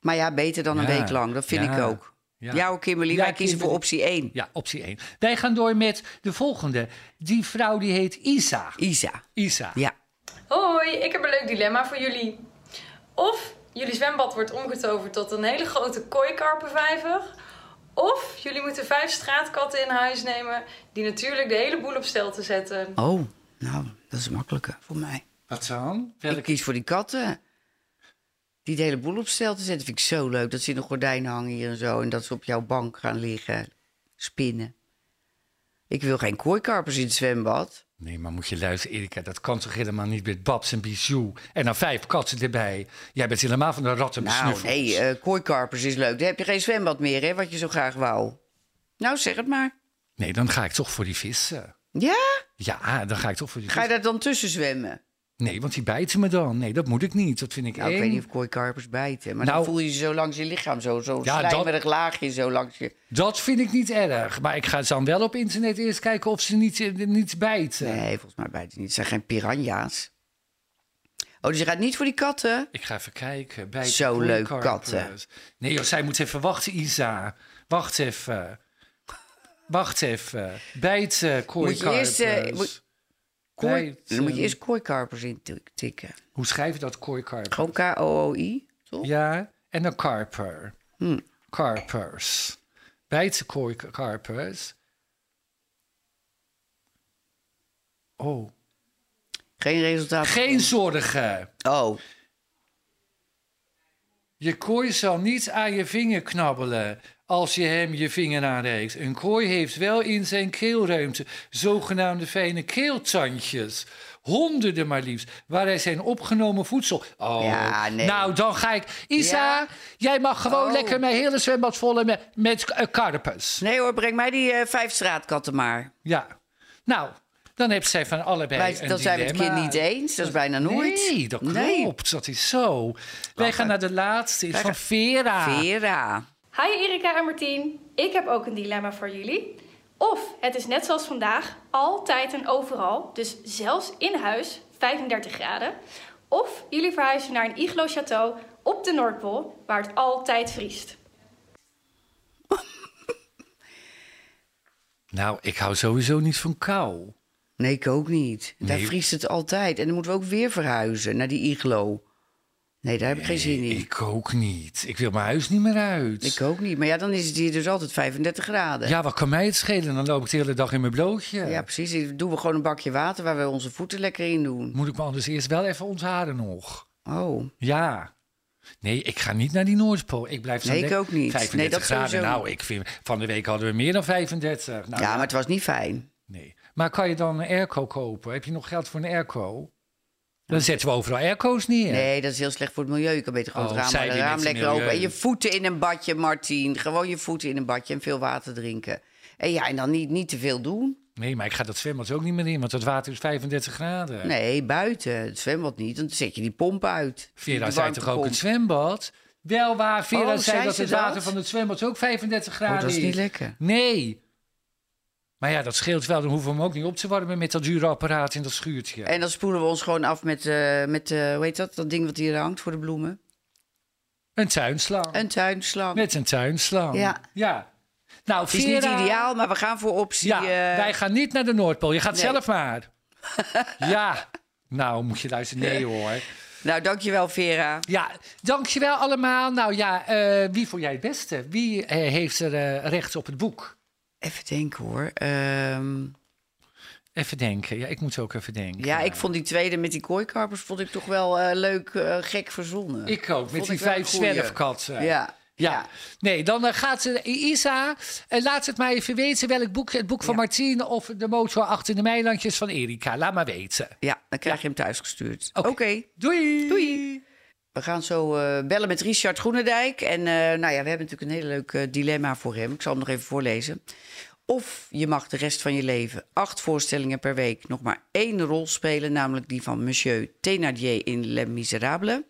Speaker 2: Maar ja, beter dan een
Speaker 1: Ja,
Speaker 2: week lang. Dat vind
Speaker 1: ja,
Speaker 2: ik ook.
Speaker 1: ja.
Speaker 2: Ja, hoor, Kimberly,
Speaker 1: Ja,
Speaker 2: wij kiezen voor
Speaker 1: Kimberly.
Speaker 2: optie 1.
Speaker 1: Ja, optie 1. Wij gaan door met de volgende. Die vrouw die heet Isa.
Speaker 2: Isa.
Speaker 1: Isa.
Speaker 2: Ja.
Speaker 4: Hoi, ik heb een leuk dilemma voor jullie. Of jullie zwembad wordt omgetoverd tot een hele grote kooikarpenvijver. Of jullie moeten vijf straatkatten in huis nemen die natuurlijk de hele boel op stel te zetten.
Speaker 2: Oh, nou, dat is makkelijker voor mij.
Speaker 1: Wat dan?
Speaker 2: Ik kies voor die katten. Die de hele boel op stel te zetten vind ik zo leuk. Dat ze in een gordijn hangen hier en zo. En dat ze op jouw bank gaan liggen. Spinnen. Ik wil geen kooikarpers in het zwembad.
Speaker 1: Nee, maar moet je luisteren, Erika. Dat kan toch helemaal niet met Babs en Bijou. En dan vijf katten erbij. Jij bent helemaal van de ratten
Speaker 2: Nou,
Speaker 1: besnuffeld.
Speaker 2: nee, eh, kooikarpers is leuk. Dan heb je geen zwembad meer, hè, wat je zo graag wou. Nou, zeg het maar.
Speaker 1: Nee, dan ga ik toch voor die vissen.
Speaker 2: Ja?
Speaker 1: Ja, dan ga ik toch voor die
Speaker 2: Ga je
Speaker 1: vissen.
Speaker 2: daar dan tussen zwemmen?
Speaker 1: Nee, want die bijten me dan. Nee, dat moet ik niet. Dat vind ik
Speaker 2: Nou, ik
Speaker 1: eng.
Speaker 2: weet niet of kooikarpers bijten. Maar
Speaker 1: Nou-
Speaker 2: dan voel je ze zo langs je lichaam. Zo'n zo
Speaker 1: Ja, dat-
Speaker 2: slijmerig laagje zo langs je...
Speaker 1: Dat vind ik niet erg. Maar ik ga dan wel op internet eerst kijken of ze niet, eh, niet bijten.
Speaker 2: Nee, volgens mij bijten ze niet. Het zijn geen piranha's. Oh, dus je gaat niet voor die katten?
Speaker 1: Ik ga even kijken. Bij
Speaker 2: Zo
Speaker 1: de
Speaker 2: leuk,
Speaker 1: kooikarpers.
Speaker 2: katten.
Speaker 1: Nee, joh, zij moet even wachten, Isa. Wacht even. Wacht even. Bijten,
Speaker 2: Moet je
Speaker 1: kooikarpers.
Speaker 2: eerst, eh, moet- Kooi... Dan moet je eerst kooikarpers intikken.
Speaker 1: eh, Hoe schrijf je dat, kooikarper?
Speaker 2: Gewoon K-O-O-I, toch?
Speaker 1: Ja, en een karper.
Speaker 2: Hmm.
Speaker 1: Karpers. Bijtse kooikarpers. Oh.
Speaker 2: Geen resultaat.
Speaker 1: Geen zorgen.
Speaker 2: Oh,
Speaker 1: Je kooi zal niet aan je vinger knabbelen als je hem je vinger aanreikt. Een kooi heeft wel in zijn keelruimte zogenaamde fijne keeltandjes. Honderden maar liefst, waar hij zijn opgenomen voedsel... Oh,
Speaker 2: Ja, nee.
Speaker 1: nou, dan ga ik... Isa,
Speaker 2: Ja?
Speaker 1: jij mag gewoon
Speaker 2: Oh.
Speaker 1: lekker mijn hele zwembad vol met, met eh, karpers.
Speaker 2: nee hoor, breng mij die eh, vijf straatkatten maar.
Speaker 1: Ja. Nou, dan heeft zij van allebei
Speaker 2: Wij-
Speaker 1: een
Speaker 2: dan zijn we het
Speaker 1: dilemma.
Speaker 2: kind niet eens. Dat is bijna nooit.
Speaker 1: Nee, dat klopt.
Speaker 2: Nee.
Speaker 1: Dat is zo. Wij gaan naar de laatste. Is van Vera.
Speaker 2: Vera.
Speaker 5: Hi Erika en Martien, ik heb ook een dilemma voor jullie. Of het is net zoals vandaag, altijd en overal, dus zelfs in huis, 35 graden. Of jullie verhuizen naar een iglo-château op de Noordpool, waar het altijd vriest.
Speaker 1: Nou, ik hou sowieso niet van kou.
Speaker 2: Nee, ik ook niet. Daar
Speaker 1: Nee.
Speaker 2: vriest het altijd. En dan moeten we ook weer verhuizen naar die iglo. Nee, daar heb ik geen zin in.
Speaker 1: Ik ook niet. Ik wil mijn huis niet meer uit.
Speaker 2: Ik ook niet. Maar ja, dan is het hier dus altijd 35 graden.
Speaker 1: ja, wat kan mij het schelen? Dan loop ik de hele dag in mijn blootje.
Speaker 2: Ja, precies. Dan doen we gewoon een bakje water waar we onze voeten lekker in doen.
Speaker 1: Moet ik me anders eerst wel even ontharen nog? Nou,
Speaker 2: Oh,
Speaker 1: Ja. Nee, ik ga niet naar die Noordpool. Ik blijf zo
Speaker 2: Nee,
Speaker 1: le-
Speaker 2: ik ook niet. Nee,
Speaker 1: 35
Speaker 2: dat
Speaker 1: graden.
Speaker 2: sowieso
Speaker 1: Nou, ik vind, van de week hadden we meer dan 35. Nou,
Speaker 2: ja, maar het was niet fijn.
Speaker 1: Nee. Maar kan je dan een airco kopen? Heb je nog geld voor een airco? Dan zetten we overal airco's neer.
Speaker 2: Nee, dat is heel slecht voor het milieu. Je kan beter gewoon
Speaker 1: Oh,
Speaker 2: het raam,
Speaker 1: zei
Speaker 2: maar het
Speaker 1: die met
Speaker 2: raam
Speaker 1: het
Speaker 2: lekker open.
Speaker 1: milieu.
Speaker 2: En je voeten in een badje, Martien. Gewoon je voeten in een badje en veel water drinken. En ja, en dan niet, niet te veel doen.
Speaker 1: Nee, maar ik ga dat zwembad ook niet meer in, want dat water is 35 graden.
Speaker 2: Nee, buiten. Het zwembad niet. Dan zet je die pomp uit.
Speaker 1: Vera
Speaker 2: Die
Speaker 1: zei toch ook
Speaker 2: warmtepomp.
Speaker 1: het zwembad? Wel waar, Vera
Speaker 2: Oh,
Speaker 1: zei
Speaker 2: zei
Speaker 1: dat
Speaker 2: ze
Speaker 1: het water
Speaker 2: dat?
Speaker 1: van het zwembad ook 35 graden
Speaker 2: Oh, dat is niet lekker.
Speaker 1: Nee. Maar ja, dat scheelt wel. Dan hoeven we hem ook niet op te warmen met dat dure apparaat in dat schuurtje.
Speaker 2: En dan spoelen we ons gewoon af met, eh, met eh, hoe heet dat? Dat ding wat hier hangt voor de bloemen.
Speaker 1: Een tuinslang.
Speaker 2: Een tuinslang.
Speaker 1: Met een tuinslang.
Speaker 2: Ja.
Speaker 1: ja. Nou,
Speaker 2: Het is niet
Speaker 1: Vera,
Speaker 2: ideaal, maar we gaan voor optie.
Speaker 1: Ja,
Speaker 2: eh,
Speaker 1: wij gaan niet naar de Noordpool. Je gaat
Speaker 2: Nee.
Speaker 1: zelf maar. ja. Nou, moet je luisteren. Nee hoor.
Speaker 2: Nou, dankjewel Vera.
Speaker 1: Ja, dankjewel allemaal. Nou ja, eh, wie vond jij het beste? Wie eh, heeft er eh, recht op het boek?
Speaker 2: Even denken hoor. Ehm,
Speaker 1: Even denken. Ja, ik moet ook even denken.
Speaker 2: ja, ik vond die tweede met die kooikarpers vond ik toch wel eh, leuk, eh, gek verzonnen.
Speaker 1: Ik ook, met die
Speaker 2: Vond ik wel een
Speaker 1: vijf
Speaker 2: goeie.
Speaker 1: zwerfkatten.
Speaker 2: Ja.
Speaker 1: Ja.
Speaker 2: Ja.
Speaker 1: nee, dan eh, gaat ze. Isa, eh, laat het mij even weten welk boek, het boek van
Speaker 2: Ja.
Speaker 1: Martien of de motor achter de meilandjes van Erika. Laat maar weten.
Speaker 2: Ja, dan krijg je hem thuis gestuurd. Oké.
Speaker 1: Oké. Doei.
Speaker 2: Doei. We gaan zo eh, bellen met Richard Groenendijk. En eh, nou ja, we hebben natuurlijk een heel leuk eh, dilemma voor hem. Ik zal hem nog even voorlezen. Of je mag de rest van je leven, acht voorstellingen per week, nog maar één rol spelen, namelijk die van Monsieur Thénardier in Les Miserables.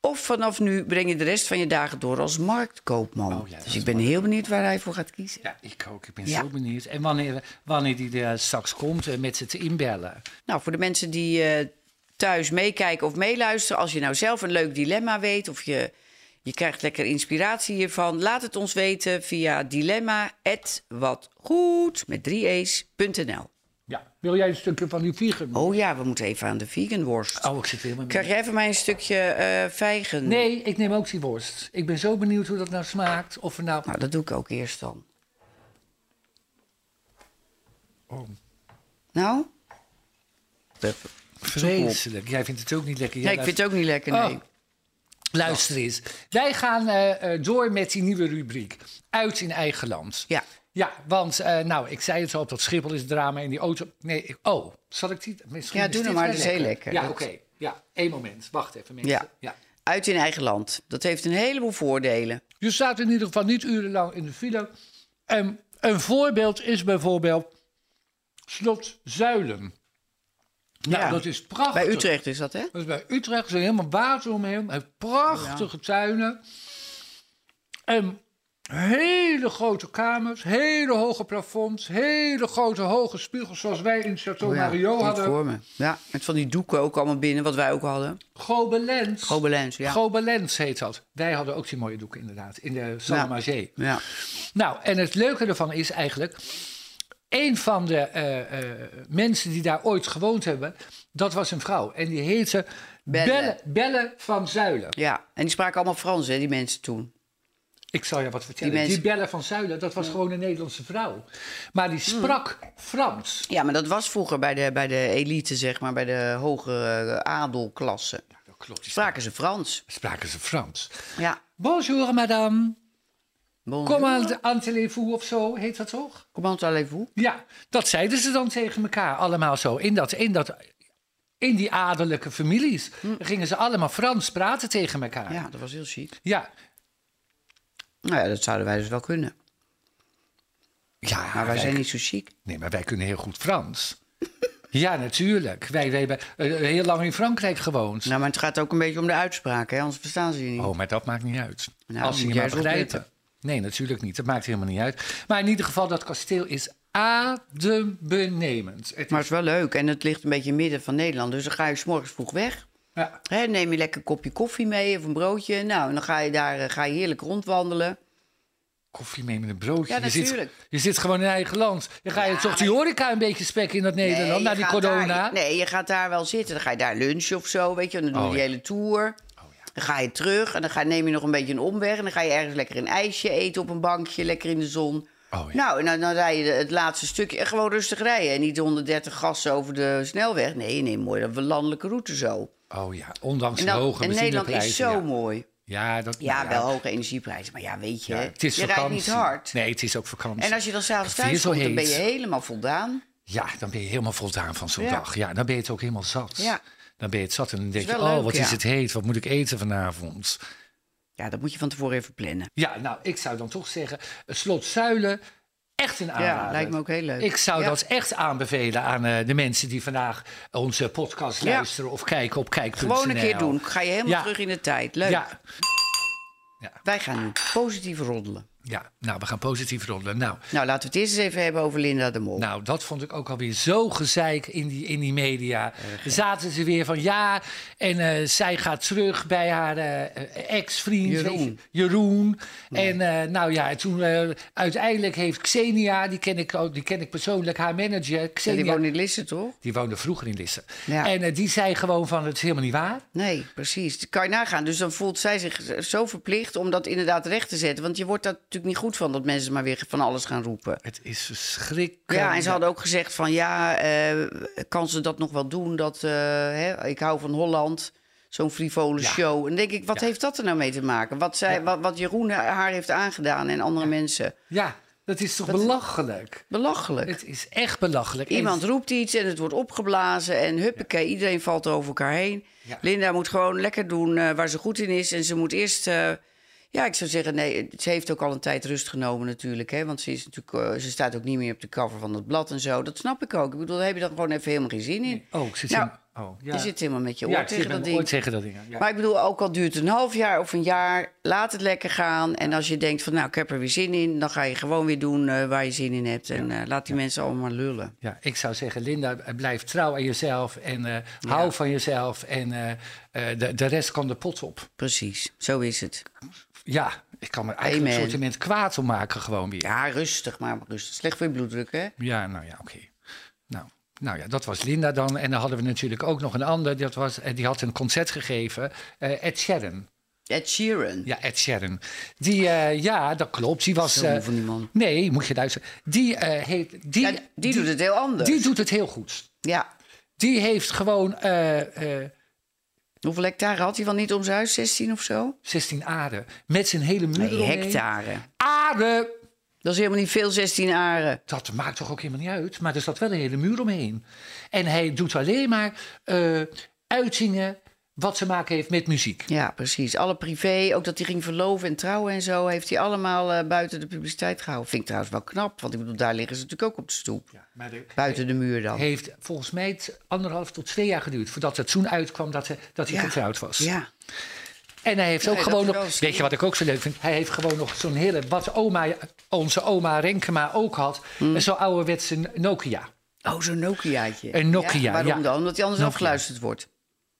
Speaker 2: Of vanaf nu breng je de rest van je dagen door als marktkoopman.
Speaker 1: Oh ja, dat
Speaker 2: dus
Speaker 1: is
Speaker 2: ik ben heel benieuwd waar hij voor gaat kiezen.
Speaker 1: Ja, ik ook. Ik ben
Speaker 2: Ja.
Speaker 1: zo benieuwd. En wanneer, wanneer die er straks komt eh, met ze te inbellen.
Speaker 2: Nou, voor de mensen die eh, thuis meekijken of meeluisteren, als je nou zelf een leuk dilemma weet of je, je krijgt lekker inspiratie hiervan, laat het ons weten via dilemma@watgoed met 3e's.nl.
Speaker 1: Ja. Wil jij een stukje van die vliegen?
Speaker 2: Oh ja, we moeten even aan de veganworst.
Speaker 1: Oh, ik zit helemaal
Speaker 2: Krijg
Speaker 1: mee.
Speaker 2: jij van mij een stukje eh, vijgen?
Speaker 1: Nee, ik neem ook die worst. Ik ben zo benieuwd hoe dat nou smaakt. Of we nou...
Speaker 2: Nou, dat doe ik ook eerst dan.
Speaker 1: Oh,
Speaker 2: Nou?
Speaker 1: vreselijk. Jij vindt het ook niet lekker. Jij
Speaker 2: Nee, ik vind het ook niet lekker,
Speaker 1: Oh.
Speaker 2: nee.
Speaker 1: Luister eens. Wij gaan eh, eh, door met die nieuwe rubriek. Uit in eigen land.
Speaker 2: Ja.
Speaker 1: Ja, want eh, nou, ik zei het al, op dat Schiphol is het drama in die auto. Nee, ik- oh, zal ik die? Misschien
Speaker 2: Ja,
Speaker 1: is
Speaker 2: doe
Speaker 1: dit
Speaker 2: nou maar,
Speaker 1: wel
Speaker 2: dat is heel lekker.
Speaker 1: Ja,
Speaker 2: Dat-
Speaker 1: oké. Ja, één moment. Wacht even, mensen.
Speaker 2: Ja. Uit in eigen land. Dat heeft een heleboel voordelen.
Speaker 1: Je staat Dus in ieder geval niet urenlang in de file. En een voorbeeld is bijvoorbeeld Slot Zuilen. Nou,
Speaker 2: Ja.
Speaker 1: dat is prachtig.
Speaker 2: Bij Utrecht is dat, hè?
Speaker 1: Dus bij Utrecht is er helemaal water omheen. Hij heeft prachtige tuinen. En hele grote kamers, hele hoge plafonds, hele grote hoge spiegels zoals wij in Chateau
Speaker 2: Oh ja,
Speaker 1: Mario
Speaker 2: niet
Speaker 1: hadden.
Speaker 2: voor me. Ja, met van die doeken ook allemaal binnen, wat wij ook hadden.
Speaker 1: Gobelens.
Speaker 2: Gobelens, ja.
Speaker 1: Gobelens heet dat. Wij hadden ook die mooie doeken inderdaad, in de Salmager.
Speaker 2: ja.
Speaker 1: Nou, en het leuke ervan is eigenlijk... een van de eh, eh, mensen die daar ooit gewoond hebben... dat was een vrouw. En die heette
Speaker 2: Belle.
Speaker 1: Belle, Belle van Zuilen.
Speaker 2: ja, en die spraken allemaal Frans, hè, die mensen toen.
Speaker 1: Ik zal je wat vertellen. Die,
Speaker 2: Die mensen-
Speaker 1: Belle van Zuilen, dat was gewoon een Nederlandse vrouw. Maar die
Speaker 2: Hmm.
Speaker 1: sprak Frans.
Speaker 2: Ja, maar dat was vroeger bij de, bij de elite, zeg maar, bij de hogere eh, adelklasse.
Speaker 1: Dat klopt.
Speaker 2: Spraken ze Frans.
Speaker 1: Spraken ze Frans.
Speaker 2: Ja.
Speaker 1: Bonjour, madame.
Speaker 2: Bonjour.
Speaker 1: Kom aan, aan téléfoon of zo, heet dat toch?
Speaker 2: Comment allez-vous?
Speaker 1: Ja, dat zeiden ze dan tegen elkaar allemaal zo. In, dat, in, dat, in die adellijke families gingen ze allemaal Frans praten tegen elkaar.
Speaker 2: Hm. Ja, dat was heel chic.
Speaker 1: ja.
Speaker 2: Nou ja, dat zouden wij dus wel kunnen.
Speaker 1: Ja,
Speaker 2: Maar wij zijn niet zo chic.
Speaker 1: Nee, maar wij kunnen heel goed Frans. ja, natuurlijk. Wij, wij hebben eh, heel lang in Frankrijk gewoond.
Speaker 2: Nou, maar het gaat ook een beetje om de uitspraak, hè? anders verstaan ze je niet.
Speaker 1: Oh, maar dat maakt niet uit.
Speaker 2: Nou,
Speaker 1: Als ze
Speaker 2: moet
Speaker 1: je
Speaker 2: jij
Speaker 1: maar
Speaker 2: eens
Speaker 1: begrijpen.
Speaker 2: opletten.
Speaker 1: Nee, natuurlijk niet. Dat maakt helemaal niet uit. Maar in ieder geval, dat kasteel is adembenemend. Het
Speaker 2: Maar
Speaker 1: is,
Speaker 2: het is wel leuk en het ligt een beetje in het midden van Nederland. Dus dan ga je 's morgens vroeg weg.
Speaker 1: ja,
Speaker 2: Hè, neem je lekker een kopje koffie mee of een broodje. Nou, en dan ga je daar eh, ga je heerlijk rondwandelen.
Speaker 1: koffie mee met een broodje.
Speaker 2: Ja,
Speaker 1: je, zit,
Speaker 2: natuurlijk.
Speaker 1: je zit gewoon in eigen land. Dan ga je toch die horeca een beetje spekken in dat Nederland,
Speaker 2: Nee, je
Speaker 1: na die
Speaker 2: gaat
Speaker 1: corona.
Speaker 2: daar- nee, je gaat daar wel zitten. Dan ga je daar lunchen of zo, weet je. En dan doe je
Speaker 1: Oh,
Speaker 2: die
Speaker 1: ja.
Speaker 2: hele tour. Dan ga je terug en dan ga, neem je nog een beetje een omweg. En dan ga je ergens lekker een ijsje eten op een bankje, lekker in de zon.
Speaker 1: Oh, ja.
Speaker 2: Nou, en dan, dan rij je het laatste stukje en gewoon rustig rijden. En niet 130 gassen over de snelweg. Nee, nee, mooi. Dat we landelijke route zo.
Speaker 1: Oh ja, ondanks
Speaker 2: Nou,
Speaker 1: de
Speaker 2: En, dan-
Speaker 1: hoge
Speaker 2: en Nederland is
Speaker 1: benzineprijzen,
Speaker 2: zo
Speaker 1: ja.
Speaker 2: mooi.
Speaker 1: Ja, dat,
Speaker 2: Ja, wel hoge energieprijzen. Maar ja, weet je,
Speaker 1: Ja, het is
Speaker 2: je
Speaker 1: vakantie.
Speaker 2: rijdt niet hard.
Speaker 1: Nee, het is ook vakantie.
Speaker 2: En als je dan s'avonds
Speaker 1: Het is
Speaker 2: thuis
Speaker 1: zo
Speaker 2: komt, dan ben
Speaker 1: heet.
Speaker 2: je helemaal voldaan.
Speaker 1: Ja, dan ben je helemaal voldaan van zo'n
Speaker 2: Ja.
Speaker 1: dag. Ja, dan ben je het ook helemaal zat.
Speaker 2: Ja.
Speaker 1: Dan ben je het zat en dan denk je,
Speaker 2: wel
Speaker 1: oh,
Speaker 2: leuk,
Speaker 1: wat
Speaker 2: ja.
Speaker 1: is het heet? Wat moet ik eten vanavond?
Speaker 2: Ja, dat moet je van tevoren even plannen.
Speaker 1: Ja, nou, ik zou dan toch zeggen, eh, Slot Zuilen, echt een aanrader.
Speaker 2: Ja, lijkt me ook heel leuk.
Speaker 1: Ah, Ik zou
Speaker 2: Ja.
Speaker 1: dat echt aanbevelen aan eh, de mensen die vandaag onze podcast
Speaker 2: Ja.
Speaker 1: luisteren of kijken op kijk.nl.
Speaker 2: Gewoon een keer doen. Ga je helemaal
Speaker 1: Ja.
Speaker 2: terug in de tijd. Leuk.
Speaker 1: Ja,
Speaker 2: Wij gaan nu positief roddelen.
Speaker 1: ja, nou, we gaan positief rollen. Nou,
Speaker 2: Nou, laten we het eerst eens even hebben over Linda de Mol.
Speaker 1: Nou, dat vond ik ook alweer zo gezeik in die, in die media. Zaten ze weer van ja, en eh, zij gaat terug bij haar eh, ex-vriend
Speaker 2: Jeroen.
Speaker 1: weet je, Jeroen. En eh, nou ja, en toen eh, uiteindelijk heeft Xenia, die ken, ik, ook- die ken ik persoonlijk, haar manager,
Speaker 2: Ja,
Speaker 1: Xenia.
Speaker 2: die woont in Lisse, toch?
Speaker 1: die woonde vroeger in Lisse.
Speaker 2: Ja.
Speaker 1: En eh, die zei gewoon van, het is helemaal niet waar.
Speaker 2: Nee, precies. Dat kan je nagaan. Dus dan voelt zij zich zo verplicht om dat inderdaad recht te zetten. Want je wordt daar natuurlijk niet goed van dat mensen maar weer van alles gaan roepen.
Speaker 1: Het is verschrikkelijk.
Speaker 2: Ja, en ze hadden ook gezegd van ja, eh, kan ze dat nog wel doen? Dat, eh, hè, ik hou van Holland, zo'n frivole
Speaker 1: Ja.
Speaker 2: show. En dan denk ik, wat heeft dat er nou mee te maken? Wat, zij, wat, wat Jeroen haar heeft aangedaan en andere mensen.
Speaker 1: Ja, dat is toch belachelijk?
Speaker 2: Belachelijk.
Speaker 1: Het is echt belachelijk. En-
Speaker 2: Iemand roept iets en het wordt opgeblazen en huppakee, iedereen valt er over elkaar heen.
Speaker 1: Ja.
Speaker 2: Linda moet gewoon lekker doen eh, waar ze goed in is. En ze moet eerst, eh, ja, ik zou zeggen, nee, ze heeft ook al een tijd rust genomen natuurlijk. Hè, want ze, is natuurlijk, eh, ze staat ook niet meer op de cover van het blad en zo. Dat snap ik ook. Ik bedoel, daar heb je dan gewoon even helemaal geen zin in.
Speaker 1: Oh, ik zit
Speaker 2: Nou,
Speaker 1: in- oh, ja.
Speaker 2: Je zit helemaal met je oor
Speaker 1: ja, ik zit
Speaker 2: tegen
Speaker 1: met
Speaker 2: dat
Speaker 1: mijn oor
Speaker 2: ding.
Speaker 1: tegen dat ding. aan. Ja.
Speaker 2: Maar ik bedoel, ook al duurt het een half jaar of een jaar, laat het lekker gaan. En als je denkt van, nou, ik heb er weer zin in, dan ga je gewoon weer doen eh, waar je zin in hebt. En eh, laat die mensen allemaal lullen.
Speaker 1: Ja, ik zou zeggen, Linda, eh, blijf trouw aan jezelf en eh, hou van jezelf. En eh, eh, de, de rest kan de pot op.
Speaker 2: Precies, zo is het.
Speaker 1: Ja, ik kan me eigenlijk een
Speaker 2: Amen.
Speaker 1: soort moment kwaad om maken gewoon weer. Ja,
Speaker 2: Ja, rustig maar, rustig. Slecht voor je bloeddruk, hè?
Speaker 1: nou ja, oké. Nou, nou ja, dat was Linda dan. En dan hadden we natuurlijk ook nog een ander. Dat was, eh, die had een concert gegeven, eh, Ed Sheeran.
Speaker 2: Ed Sheeran.
Speaker 1: Ja, Ed Sheeran. Die, eh, ja, dat klopt. Die was...
Speaker 2: Zo
Speaker 1: eh,
Speaker 2: van die man.
Speaker 1: nee, moet je luisteren. Die, eh, heeft, die,
Speaker 2: Ja, die, doet het heel anders.
Speaker 1: Die doet het heel goed.
Speaker 2: Ja.
Speaker 1: Die heeft gewoon eh, eh,
Speaker 2: Hoeveel hectare had hij van niet om zijn huis? 16 of zo?
Speaker 1: 16 aren. Met zijn hele moeder
Speaker 2: Nee,
Speaker 1: eromheen.
Speaker 2: hectare.
Speaker 1: Aren!
Speaker 2: Dat is helemaal niet veel, 16 aren.
Speaker 1: Dat maakt toch ook helemaal niet uit. Maar er zat wel een hele muur omheen. En hij doet alleen maar eh, uitingen wat te maken heeft met muziek.
Speaker 2: Ja, precies. Alle privé, ook dat hij ging verloven en trouwen en zo... heeft hij allemaal eh, buiten de publiciteit gehouden. Vind ik trouwens wel knap, want ik bedoel, daar liggen ze natuurlijk ook op de stoep.
Speaker 1: Maar het
Speaker 2: Buiten de muur dan.
Speaker 1: heeft volgens mij het anderhalf tot twee jaar geduurd... voordat het toen uitkwam dat, hij- dat hij
Speaker 2: Ja.
Speaker 1: getrouwd was.
Speaker 2: Ja,
Speaker 1: En hij heeft
Speaker 2: Nee,
Speaker 1: ook
Speaker 2: dat
Speaker 1: gewoon
Speaker 2: is
Speaker 1: nog...
Speaker 2: wel eens-
Speaker 1: Weet je wat ik ook zo leuk vind? Hij heeft gewoon nog zo'n hele... wat oma, onze oma Renkema ook had...
Speaker 2: Hmm.
Speaker 1: zo'n ouderwetse Nokia.
Speaker 2: oh, zo'n Nokiaatje.
Speaker 1: Een Nokia,
Speaker 2: ja. Waarom
Speaker 1: ja.
Speaker 2: dan? Omdat hij anders
Speaker 1: Nokia.
Speaker 2: afgeluisterd wordt.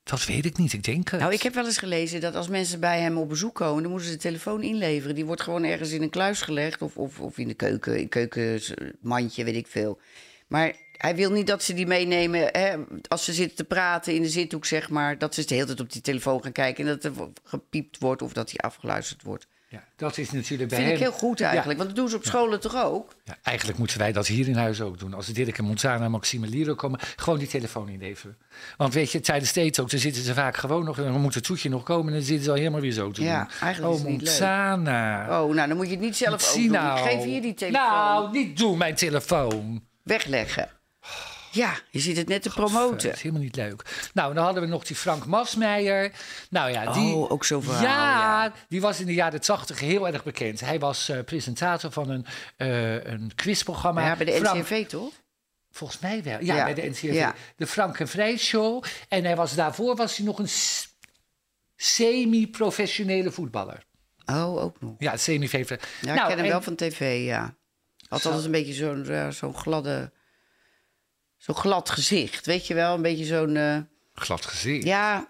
Speaker 1: Dat weet ik niet, ik denk het.
Speaker 2: Nou, ik heb wel eens gelezen dat als mensen bij hem op bezoek komen, dan moeten ze de telefoon inleveren. Die wordt gewoon ergens in een kluis gelegd of, of, of in de keuken, in keukenmandje, weet ik veel. Maar hij wil niet dat ze die meenemen hè, als ze zitten te praten in de zithoek, zeg maar. Dat ze de hele tijd op die telefoon gaan kijken en dat er gepiept wordt of dat hij afgeluisterd wordt.
Speaker 1: Ja, dat is natuurlijk bij
Speaker 2: Dat vind ik
Speaker 1: hem-
Speaker 2: heel goed eigenlijk, want dat doen ze op scholen toch ook?
Speaker 1: Ja, eigenlijk moeten wij dat hier in huis ook doen. Als Dirk en Montana en Maxime Liro komen, gewoon die telefoon inleveren. Want weet je, tijdens steeds ook, dan zitten ze vaak gewoon nog... en dan moet het toetje nog komen en dan zitten ze al helemaal weer zo te
Speaker 2: Ja,
Speaker 1: doen.
Speaker 2: eigenlijk
Speaker 1: oh,
Speaker 2: is het niet leuk.
Speaker 1: Montana.
Speaker 2: Oh, nou dan moet je het niet zelf ook
Speaker 1: Zie
Speaker 2: doen.
Speaker 1: nou.
Speaker 2: Ik geef hier die telefoon.
Speaker 1: Nou, niet doen, mijn telefoon.
Speaker 2: Wegleggen. Ja, je ziet het net te
Speaker 1: Dat
Speaker 2: promoten.
Speaker 1: is helemaal niet leuk. Nou, dan hadden we nog die Frank Masmeijer. Nou ja, die...
Speaker 2: Oh, ook zo'n verhaal, ja.
Speaker 1: die was in de jaren tachtig heel erg bekend. Hij was eh, presentator van een, eh, een quizprogramma.
Speaker 2: Ja, bij de
Speaker 1: Frank-
Speaker 2: NCV toch?
Speaker 1: Volgens mij wel. Ja,
Speaker 2: Ja.
Speaker 1: bij de NCRV.
Speaker 2: Ja.
Speaker 1: De Frank en Vrij Show. En hij was, daarvoor was hij nog een s- semi-professionele voetballer.
Speaker 2: Oh, ook nog.
Speaker 1: Ja, Nou, semi-professionele.
Speaker 2: Ja, ik ken hem wel van tv, ja. Had altijd een beetje zo'n eh, zo'n gladde... Zo'n glad gezicht, weet je wel? Een beetje zo'n... eh,
Speaker 1: Glad gezien.
Speaker 2: ja,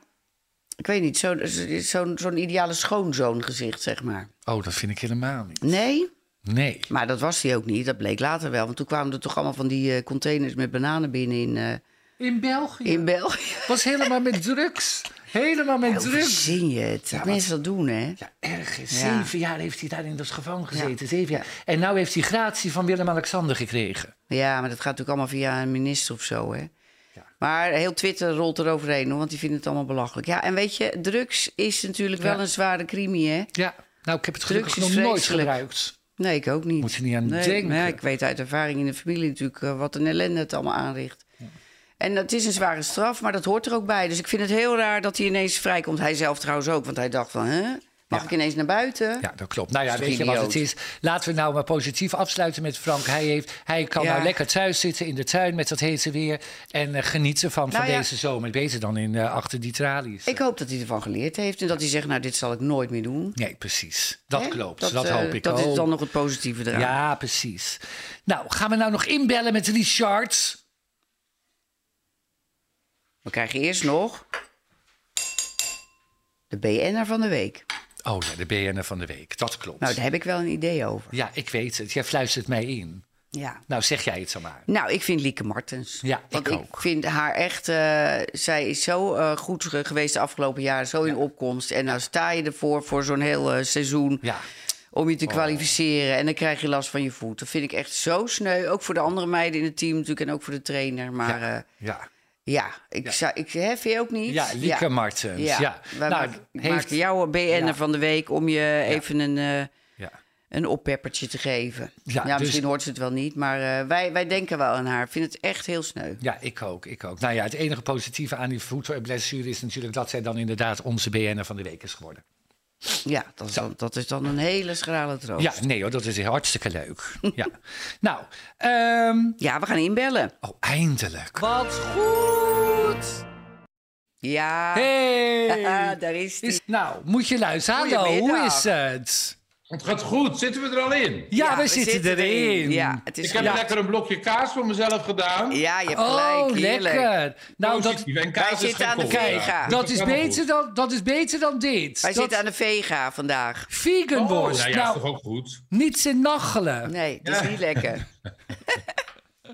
Speaker 2: ik weet niet. Zo'n zo'n zo'n ideale schoonzoon gezicht, zeg maar.
Speaker 1: Oh, dat vind ik helemaal niet.
Speaker 2: Nee,
Speaker 1: Nee.
Speaker 2: maar dat was hij ook niet. Dat bleek later wel. Want toen kwamen er toch allemaal van die eh, containers met bananen binnen in, eh,
Speaker 1: In België.
Speaker 2: in België.
Speaker 1: Was helemaal met drugs. Helemaal met
Speaker 2: Hoe
Speaker 1: druk.
Speaker 2: verzin je het? Dat mensen dat doen, hè?
Speaker 1: Ja, erg. hè.
Speaker 2: Ja.
Speaker 1: Zeven jaar heeft hij daar in dat gevangen gezeten. Zeven jaar. En nu heeft hij gratie van Willem-Alexander gekregen.
Speaker 2: Ja, maar dat gaat natuurlijk allemaal via een minister of zo, hè?
Speaker 1: Ja.
Speaker 2: Maar heel Twitter rolt er overheen, hoor, want die vinden het allemaal belachelijk. Ja, en weet je, drugs is natuurlijk
Speaker 1: Ja.
Speaker 2: wel een zware crimie, hè?
Speaker 1: Ja, nou, ik heb het gelukkig
Speaker 2: Drugs
Speaker 1: nog
Speaker 2: is
Speaker 1: nooit
Speaker 2: vreselijk.
Speaker 1: gebruikt.
Speaker 2: Nee, ik ook niet.
Speaker 1: Moet je niet aan
Speaker 2: nee,
Speaker 1: denken.
Speaker 2: maar ja, ik weet uit ervaring in de familie natuurlijk eh, wat een ellende het allemaal aanricht. En dat is een zware straf, maar dat hoort er ook bij. Dus ik vind het heel raar dat hij ineens vrijkomt. Hij zelf trouwens ook, want hij dacht van, hè? Mag
Speaker 1: Ja.
Speaker 2: ik ineens naar buiten?
Speaker 1: Ja, dat klopt. Nou ja,
Speaker 2: Is toch
Speaker 1: weet je wat het
Speaker 2: idioot?
Speaker 1: is? Laten we nou maar positief afsluiten met Frank. Hij, heeft, hij kan
Speaker 2: Ja.
Speaker 1: nou lekker thuis zitten in de tuin met dat hete weer. En eh, genieten van,
Speaker 2: Nou
Speaker 1: van
Speaker 2: ja.
Speaker 1: deze zomer. Beter dan in, eh, achter die tralies.
Speaker 2: Ik hoop dat hij ervan geleerd heeft en dat hij zegt, nou, dit zal ik nooit meer doen.
Speaker 1: Nee, precies. Dat
Speaker 2: Hè?
Speaker 1: klopt. Dat, hoop
Speaker 2: eh,
Speaker 1: ik
Speaker 2: Dat
Speaker 1: ook.
Speaker 2: is dan nog het positieve eraan.
Speaker 1: Ja, precies. Nou, gaan we nou nog inbellen met Richard?
Speaker 2: We krijgen eerst nog de BN'er van de week.
Speaker 1: Oh ja, de BN'er van de week. Dat klopt.
Speaker 2: Nou, daar heb ik wel een idee over.
Speaker 1: Ja, ik weet het. Jij fluistert mij in.
Speaker 2: Ja.
Speaker 1: Nou, zeg jij het dan maar.
Speaker 2: Nou, ik vind Lieke Martens.
Speaker 1: Ja,
Speaker 2: Want
Speaker 1: ik
Speaker 2: ik
Speaker 1: ook.
Speaker 2: vind haar echt... eh, zij is zo eh, goed ge- geweest de afgelopen jaren. Zo in opkomst. En nou sta je ervoor voor zo'n heel eh, seizoen...
Speaker 1: Ja. Oh.
Speaker 2: om je te kwalificeren. En dan krijg je last van je voet. Dat vind ik echt zo sneu. Ook voor de andere meiden in het team natuurlijk. En ook voor de trainer. Maar ja,
Speaker 1: Ja.
Speaker 2: ja ik, Zou, ik hè, vind je ook niet.
Speaker 1: Ja, Lieke Martens. Ja.
Speaker 2: Wij
Speaker 1: Nou,
Speaker 2: maak-
Speaker 1: heeft-
Speaker 2: maken jou een BN'er
Speaker 1: Ja.
Speaker 2: van de week... om je even een... eh,
Speaker 1: ja.
Speaker 2: een oppeppertje te geven.
Speaker 1: Ja,
Speaker 2: Ja,
Speaker 1: dus-
Speaker 2: misschien hoort ze het wel niet, maar eh, wij, wij denken wel aan haar. Ik vind het echt heel sneu.
Speaker 1: Ja, ik ook, ik ook. Nou ja, het enige positieve aan die voetblessure is natuurlijk dat zij dan inderdaad onze BN'er van de week is geworden.
Speaker 2: Ja, dat is dan, dat is dan een hele schrale troost.
Speaker 1: Ja,
Speaker 2: Ja.
Speaker 1: nee hoor, dat is hartstikke leuk. ja. Nou, ehm,
Speaker 2: we gaan inbellen.
Speaker 1: oh, eindelijk.
Speaker 2: Wat goed! Ja,
Speaker 1: Hey!
Speaker 2: daar is die.
Speaker 1: Is, nou, moet je luisteren. Hallo, hoe
Speaker 2: Goedemiddag.
Speaker 1: is het?
Speaker 6: Het gaat goed, zitten we er al in?
Speaker 1: Ja, we, zitten, erin.
Speaker 2: Ja, het is
Speaker 6: Ik heb
Speaker 2: ja.
Speaker 6: lekker een blokje kaas voor mezelf gedaan.
Speaker 2: ja, je hebt
Speaker 1: Oh,
Speaker 2: gelijk. heerlijk.
Speaker 1: lekker. Nou, dat,
Speaker 6: Positief. En
Speaker 2: Wij
Speaker 6: kaas is
Speaker 2: zitten
Speaker 6: geen
Speaker 2: aan de
Speaker 6: koolzaad.
Speaker 2: vega.
Speaker 1: dat, is
Speaker 6: helemaal
Speaker 1: beter
Speaker 6: goed.
Speaker 1: dan, dat is beter dan dit.
Speaker 2: Wij
Speaker 1: dat
Speaker 2: zitten aan de vega vandaag.
Speaker 1: vegan
Speaker 6: Oh,
Speaker 1: worst.
Speaker 6: ja, ja, is
Speaker 1: nou,
Speaker 6: toch ook goed?
Speaker 1: niets in nachelen.
Speaker 2: Nee, het is niet lekker.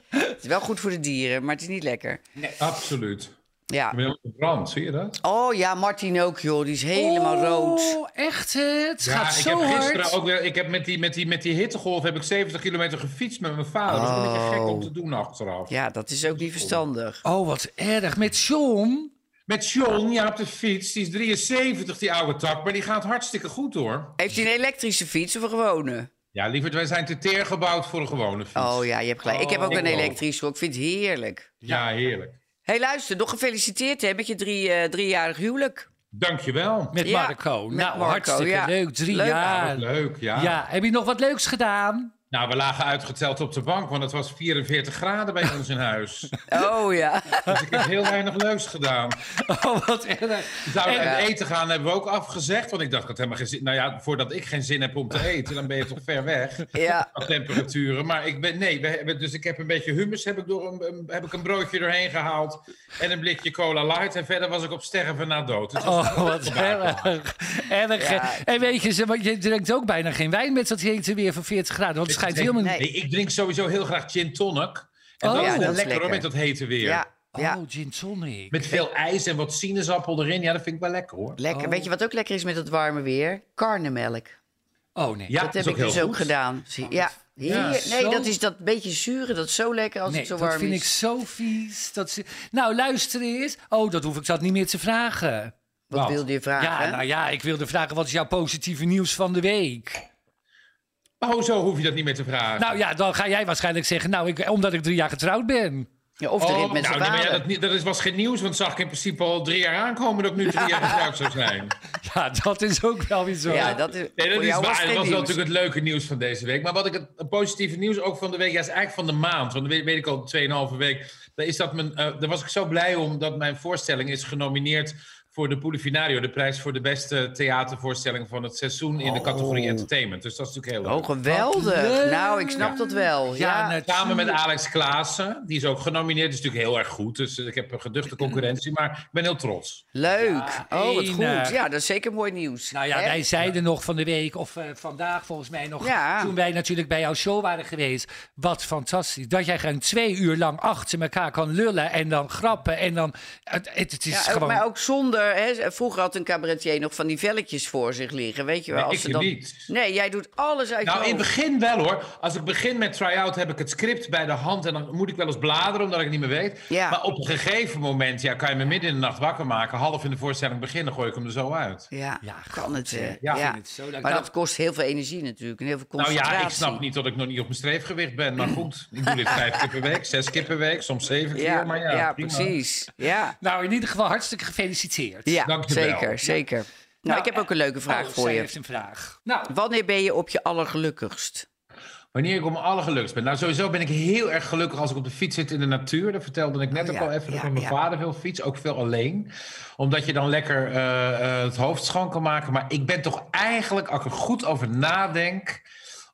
Speaker 2: het is wel goed voor de dieren, maar het is niet lekker.
Speaker 6: Absoluut. Ik
Speaker 2: Ja.
Speaker 6: ben helemaal verbrand, zie je dat?
Speaker 2: Oh ja, Martin ook, joh. Die is helemaal rood.
Speaker 1: Oh, echt hè? het?
Speaker 6: Ja,
Speaker 1: gaat
Speaker 6: ik
Speaker 1: zo
Speaker 6: heb gisteren
Speaker 1: hard.
Speaker 6: ook weer, ik heb met die, met die, met die hittegolf heb ik 70 kilometer gefietst met mijn vader. Dus Dat is een beetje gek om te doen achteraf.
Speaker 2: Oh. Ja, dat is ook niet verstandig.
Speaker 1: Oh, wat erg. Met John.
Speaker 6: Met John, ja, op de fiets. Die is 73, die oude tak. Maar die gaat hartstikke goed, hoor.
Speaker 2: Heeft hij een elektrische fiets of een gewone?
Speaker 6: Ja, lieverd, wij zijn te teer gebouwd voor een gewone fiets.
Speaker 2: Oh ja, je hebt gelijk. ik heb ook
Speaker 6: Oh.
Speaker 2: een elektrische. hoor. Ik vind het heerlijk.
Speaker 6: Ja, heerlijk.
Speaker 2: Hé, hey, luister, nog gefeliciteerd hè, met je drie, eh, driejarig huwelijk.
Speaker 6: Dankjewel.
Speaker 1: Met
Speaker 2: Ja,
Speaker 1: Marco.
Speaker 2: met
Speaker 1: nou,
Speaker 2: Marco,
Speaker 1: hartstikke
Speaker 2: ja.
Speaker 1: leuk. Drie
Speaker 2: Leuk.
Speaker 1: jaar.
Speaker 6: Leuk,
Speaker 1: Ja. heb je nog wat leuks gedaan?
Speaker 6: Nou, we lagen uitgeteld op de bank, want het was 44 graden bij ons in huis.
Speaker 2: Oh ja.
Speaker 6: Dus ik heb heel weinig leuks gedaan.
Speaker 1: Oh, wat erg.
Speaker 6: Zouden
Speaker 1: En-
Speaker 6: en eten gaan hebben we ook afgezegd, want ik dacht, ik had helemaal geen zin. Nou ja, voordat ik geen zin heb om te eten, dan ben je toch ver weg
Speaker 2: ja.
Speaker 6: qua temperaturen. Maar ik ben, nee, we hebben, dus ik heb een beetje hummus, heb ik, door een, een- heb ik een broodje doorheen gehaald en een blikje cola light. En verder was ik op sterven na dood. Het was-
Speaker 1: Oh, wat erg. erg. hè.
Speaker 2: Ja.
Speaker 1: En weet je, ze- want je drinkt ook bijna geen wijn met dat hete weer van 40 graden. Want het schijnt helemaal niet.
Speaker 6: nee, ik drink sowieso heel graag gin tonic. En
Speaker 1: Oh.
Speaker 6: dat
Speaker 1: Ja,
Speaker 6: is wel
Speaker 2: dat
Speaker 6: lekker,
Speaker 2: is
Speaker 6: hoor, met
Speaker 2: lekker.
Speaker 6: dat hete weer.
Speaker 2: Ja. ja.
Speaker 1: Oh, gin tonic.
Speaker 6: Met veel ijs en wat sinaasappel erin. Ja, dat vind ik wel lekker hoor.
Speaker 2: Lekker. Weet je wat ook lekker is met het warme weer? Karnemelk.
Speaker 1: Oh, nee.
Speaker 6: Ja,
Speaker 2: Dat heb ik dus ook gedaan. Zie- Ja. Hier, nee,
Speaker 1: Zo-
Speaker 2: dat is dat beetje zure. Dat is zo lekker als
Speaker 1: Nee,
Speaker 2: het zo
Speaker 1: dat
Speaker 2: warm
Speaker 1: vind ik
Speaker 2: is.
Speaker 1: zo vies. Dat ze... Nou, luister eens. Oh, dat hoef ik dat niet meer te vragen.
Speaker 2: Wat wilde je vragen?
Speaker 1: Ja, nou ja, ik wilde vragen, wat is jouw positieve nieuws van de week?
Speaker 6: Oh, zo hoef je dat niet meer te vragen.
Speaker 1: Nou ja, dan ga jij waarschijnlijk zeggen, nou, ik, omdat ik drie jaar getrouwd ben.
Speaker 2: Ja, of
Speaker 6: Oh,
Speaker 2: de rit met
Speaker 6: nou,
Speaker 2: z'n
Speaker 6: nee, maar ja,
Speaker 2: allen.
Speaker 6: dat, niet- dat is- was geen nieuws, want zag ik in principe al drie jaar aankomen dat ik nu drie jaar getrouwd zou zijn.
Speaker 1: Ja, dat is ook wel weer zo.
Speaker 2: Ja, dat is,
Speaker 6: Nee, dat
Speaker 2: voor
Speaker 6: is
Speaker 2: jou was
Speaker 6: waar. Dat
Speaker 2: geen
Speaker 6: was
Speaker 2: nieuws.
Speaker 6: natuurlijk het leuke nieuws van deze week. Maar wat ik het het positieve nieuws ook van de week, ja, is eigenlijk van de maand. Want dat weet, weet ik al 2,5 week. Daar, is dat mijn, eh, daar was ik zo blij om dat mijn voorstelling is genomineerd voor de Polifinario. De prijs voor de beste theatervoorstelling van het seizoen in de categorie entertainment. Dus dat is natuurlijk heel leuk.
Speaker 2: Oh, geweldig.
Speaker 1: leuk.
Speaker 2: Nou, ik snap dat wel.
Speaker 1: Ja,
Speaker 2: Ja,
Speaker 1: net-
Speaker 6: Samen met Alex Klaassen, die is ook genomineerd. is natuurlijk heel erg goed, dus eh, ik heb een geduchte concurrentie. Maar ik ben heel trots.
Speaker 2: Leuk. oh, wat
Speaker 1: enig.
Speaker 2: goed. Ja, dat is zeker mooi nieuws.
Speaker 1: Nou ja,
Speaker 2: Hè?
Speaker 1: wij zeiden nog van de week, of eh, vandaag volgens mij nog,
Speaker 2: Ja.
Speaker 1: toen wij natuurlijk bij jouw show waren geweest. Wat fantastisch. Dat jij gewoon twee uur lang achter elkaar kan lullen en dan grappen en dan... Het, het, het is
Speaker 2: Ja, ook-
Speaker 1: gewoon...
Speaker 2: Maar ook zonder er, hè, vroeger had een cabaretier nog van die velletjes voor zich liggen, weet je wel.
Speaker 6: Nee,
Speaker 2: als
Speaker 6: ik
Speaker 2: ze dan...
Speaker 6: niet.
Speaker 2: Nee, jij doet alles uit
Speaker 6: Nou,
Speaker 2: je
Speaker 6: in het
Speaker 2: hoofd.
Speaker 6: begin wel hoor. Als ik begin met try-out heb ik het script bij de hand en dan moet ik wel eens bladeren omdat ik het niet meer weet.
Speaker 2: Ja.
Speaker 6: Maar op een gegeven moment ja, kan je me midden in de nacht wakker maken, half in de voorstelling beginnen, gooi ik hem er zo uit.
Speaker 2: Ja,
Speaker 1: Ja,
Speaker 2: kan het. hè.
Speaker 6: eh,
Speaker 1: Ja,
Speaker 2: Ja,
Speaker 1: ik vind het zo leuk.
Speaker 2: maar
Speaker 1: Nou-
Speaker 2: dat kost heel veel energie natuurlijk en heel veel
Speaker 6: Nou
Speaker 2: concentratie.
Speaker 6: ja, ik snap niet dat ik nog niet op mijn streefgewicht ben, maar goed, ik doe dit vijf keer per week, zes keer per week, soms zeven keer.
Speaker 2: Ja,
Speaker 6: maar ja,
Speaker 2: ja,
Speaker 6: prima.
Speaker 2: precies. Ja,
Speaker 1: Nou, in ieder geval hartstikke gefeliciteerd.
Speaker 2: ja
Speaker 6: Dank je wel. eh,
Speaker 2: zeker, zeker. Nou, ik heb ook een leuke vraag
Speaker 1: Oh,
Speaker 2: voor
Speaker 1: zij
Speaker 2: je.
Speaker 1: heeft een vraag. Nou,
Speaker 2: Wanneer ben je op je allergelukkigst?
Speaker 6: Wanneer ik om alle gelukkig ben. Nou, sowieso ben ik heel erg gelukkig als ik op de fiets zit in de natuur. Dat vertelde ik
Speaker 2: Oh,
Speaker 6: net ook
Speaker 2: ja,
Speaker 6: al even. dat
Speaker 2: ja,
Speaker 6: ik met mijn
Speaker 2: ja.
Speaker 6: vader veel fiets, ook veel alleen. Omdat je dan lekker eh, eh, het hoofd schoon kan maken. Maar ik ben toch eigenlijk, als ik er goed over nadenk,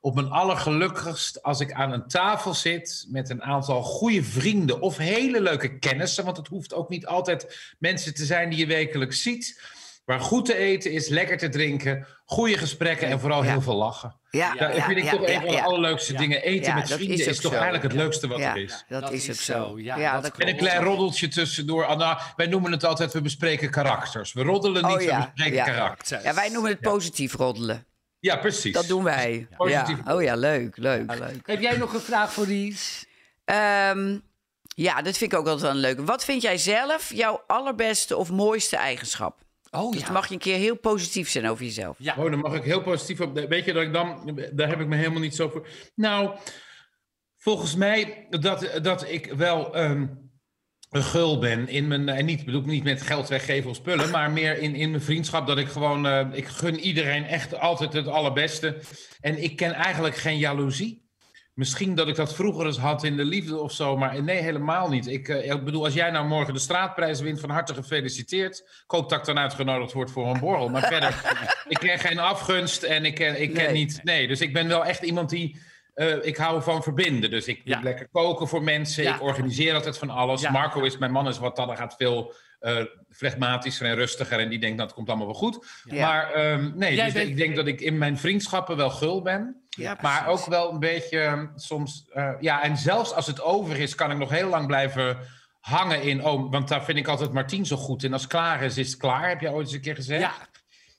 Speaker 6: op mijn allergelukkigst als ik aan een tafel zit met een aantal goede vrienden of hele leuke kennissen. Want het hoeft ook niet altijd mensen te zijn die je wekelijks ziet. Waar goed te eten is, lekker te drinken, goede gesprekken en vooral
Speaker 2: Ja.
Speaker 6: heel veel lachen.
Speaker 2: Ja,
Speaker 6: Ja, dat vind Nou, ik toch een van de
Speaker 2: ja.
Speaker 6: allerleukste
Speaker 1: Ja.
Speaker 6: dingen. Eten
Speaker 2: Ja,
Speaker 6: met
Speaker 2: dat
Speaker 6: vrienden
Speaker 2: is
Speaker 6: is,
Speaker 2: ook
Speaker 6: toch
Speaker 2: zo.
Speaker 6: eigenlijk het leukste wat
Speaker 2: Ja,
Speaker 6: er is.
Speaker 2: dat, is ook zo. Ja,
Speaker 1: dat
Speaker 2: dat
Speaker 1: klopt.
Speaker 6: En een
Speaker 2: klopt.
Speaker 6: klein roddeltje tussendoor. Ah, nou, wij noemen het altijd, we bespreken karakters. We roddelen
Speaker 2: Oh,
Speaker 6: niet,
Speaker 2: ja,
Speaker 6: we bespreken
Speaker 2: ja.
Speaker 6: karakters.
Speaker 1: zij-
Speaker 2: Ja, wij noemen het positief roddelen.
Speaker 6: Ja, precies.
Speaker 2: Dat doen wij.
Speaker 6: Positief.
Speaker 2: Ja. Oh ja, leuk, leuk, leuk.
Speaker 1: Heb jij nog een vraag voor Ries?
Speaker 2: Ehm, ja, dat vind ik ook altijd wel een leuke. Wat vind jij zelf jouw allerbeste of mooiste eigenschap?
Speaker 1: Oh
Speaker 2: Dus
Speaker 1: ja.
Speaker 2: dan mag je een keer heel positief zijn over jezelf.
Speaker 1: Ja.
Speaker 6: Oh, dan mag ik heel positief op. Weet je dat ik dan. Daar heb ik me helemaal niet zo voor. Nou, volgens mij dat, dat ik wel. ehm, een gul ben in mijn. En niet, bedoel ik niet met geld weggeven of spullen. Maar meer in, in mijn vriendschap. Dat ik gewoon. eh, ik gun iedereen echt altijd het allerbeste. En ik ken eigenlijk geen jaloezie. Misschien dat ik dat vroeger eens had in de liefde of zo, maar nee, helemaal niet. Ik, eh, ik bedoel, als jij nou morgen de straatprijs wint, van harte gefeliciteerd. Ik hoop dat ik dan uitgenodigd word voor een borrel. Maar verder, ik ken geen afgunst en ik ken, ik ken
Speaker 2: Nee.
Speaker 6: niet... Nee, dus ik ben wel echt iemand die... eh, ik hou van verbinden. Dus ik
Speaker 1: Ja.
Speaker 6: doe lekker koken voor mensen.
Speaker 1: Ja.
Speaker 6: Ik organiseer altijd van alles.
Speaker 1: Ja.
Speaker 6: Marco is, mijn man is wat dan, gaat veel eh flegmatischer en rustiger. En die denkt, dat komt allemaal wel goed.
Speaker 2: Ja.
Speaker 6: Maar ehm, nee,
Speaker 1: Jij
Speaker 6: dus
Speaker 1: bent-
Speaker 6: ik denk dat ik in mijn vriendschappen wel gul ben.
Speaker 2: Ja,
Speaker 6: Maar ook wel een beetje eh, soms. eh, ja, en zelfs als het over is, kan ik nog heel lang blijven hangen in. Oh, want daar vind ik altijd Martien zo goed. En als het klaar is, is het klaar. Heb jij ooit eens een keer gezegd?
Speaker 1: Ja.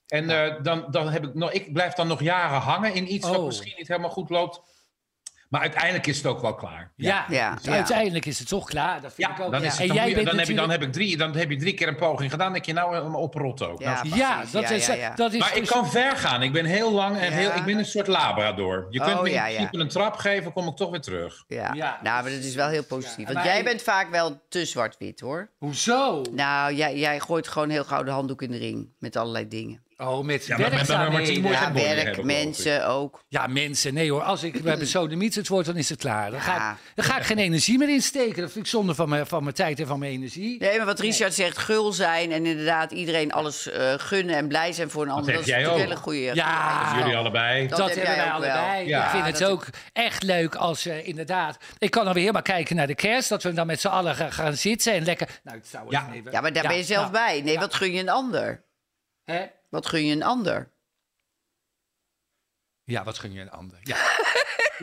Speaker 6: En eh, dan, dan heb ik nog. Ik blijf dan nog jaren hangen in iets
Speaker 1: Oh.
Speaker 6: wat misschien niet helemaal goed loopt. Maar uiteindelijk is het ook wel klaar.
Speaker 1: Ja,
Speaker 2: Ja,
Speaker 1: dus
Speaker 2: ja.
Speaker 1: uiteindelijk is het toch klaar. Dat vind
Speaker 6: Ja,
Speaker 1: ik ook.
Speaker 6: dan, is het,
Speaker 1: en
Speaker 6: dan,
Speaker 1: jij
Speaker 6: moet je-
Speaker 1: bent
Speaker 6: dan, heb je, dan,
Speaker 1: natuurlijk...
Speaker 6: heb ik drie, dan heb je drie keer een poging gedaan. Dan denk je, nou, eh, oprot ook. Nou,
Speaker 2: Ja, precies.
Speaker 1: Ja, dat is,
Speaker 2: ja, ja.
Speaker 1: Dat is
Speaker 6: maar ik
Speaker 1: dus-
Speaker 6: kan ver gaan. Ik ben heel lang en
Speaker 2: Ja.
Speaker 6: heel, ik ben een soort labrador. Je kunt
Speaker 2: Oh,
Speaker 6: me in
Speaker 2: ja, ja.
Speaker 6: principe een trap geven, kom ik toch weer terug.
Speaker 2: Ja.
Speaker 1: Ja.
Speaker 2: nou, maar dat is wel heel positief.
Speaker 1: Ja,
Speaker 2: Want
Speaker 1: maar-
Speaker 2: jij bent vaak wel te zwart-wit, hoor.
Speaker 1: Hoezo?
Speaker 2: Nou, jij, jij gooit gewoon heel gouden handdoek in de ring met allerlei dingen.
Speaker 1: Oh, met
Speaker 6: Ja, maar- maar- maar
Speaker 1: werkzaamheden.
Speaker 6: Martien moet-
Speaker 2: Ja,
Speaker 6: geen bonnie
Speaker 2: werk,
Speaker 6: hebben, geloof ik.
Speaker 2: mensen ook.
Speaker 1: Ja, mensen, nee hoor. Als ik bij Besodemiet het word, dan is het klaar. Dan ga,
Speaker 2: Ja.
Speaker 1: ik, dan ga ik geen energie meer insteken. Dat vind ik zonde van mijn, van mijn tijd en van mijn energie.
Speaker 2: Nee, maar wat Richard zegt, gul zijn en inderdaad iedereen alles eh, gunnen en blij zijn voor een ander.
Speaker 6: heb
Speaker 2: Dat,
Speaker 6: jij
Speaker 2: is natuurlijk
Speaker 6: ook.
Speaker 2: een hele goede.
Speaker 1: Ja.
Speaker 6: Dus jullie allebei.
Speaker 1: Dat,
Speaker 2: Dat heb
Speaker 1: hebben wij
Speaker 2: jij ook wel.
Speaker 1: allebei.
Speaker 6: Ja.
Speaker 1: ik vind
Speaker 2: Ja,
Speaker 1: het
Speaker 2: dat-
Speaker 1: ook echt leuk als eh, inderdaad... Ik kan dan weer helemaal kijken naar de kerst. Dat we dan met z'n allen gaan, gaan zitten en lekker... Nou, het zou
Speaker 6: Ja.
Speaker 1: even...
Speaker 2: Ja, maar daar ben je zelf
Speaker 1: nou,
Speaker 2: bij. Nee, wat gun je een ander?
Speaker 1: Hè?
Speaker 2: Wat gun je een ander?
Speaker 1: Ja, wat gun je een ander? Ja,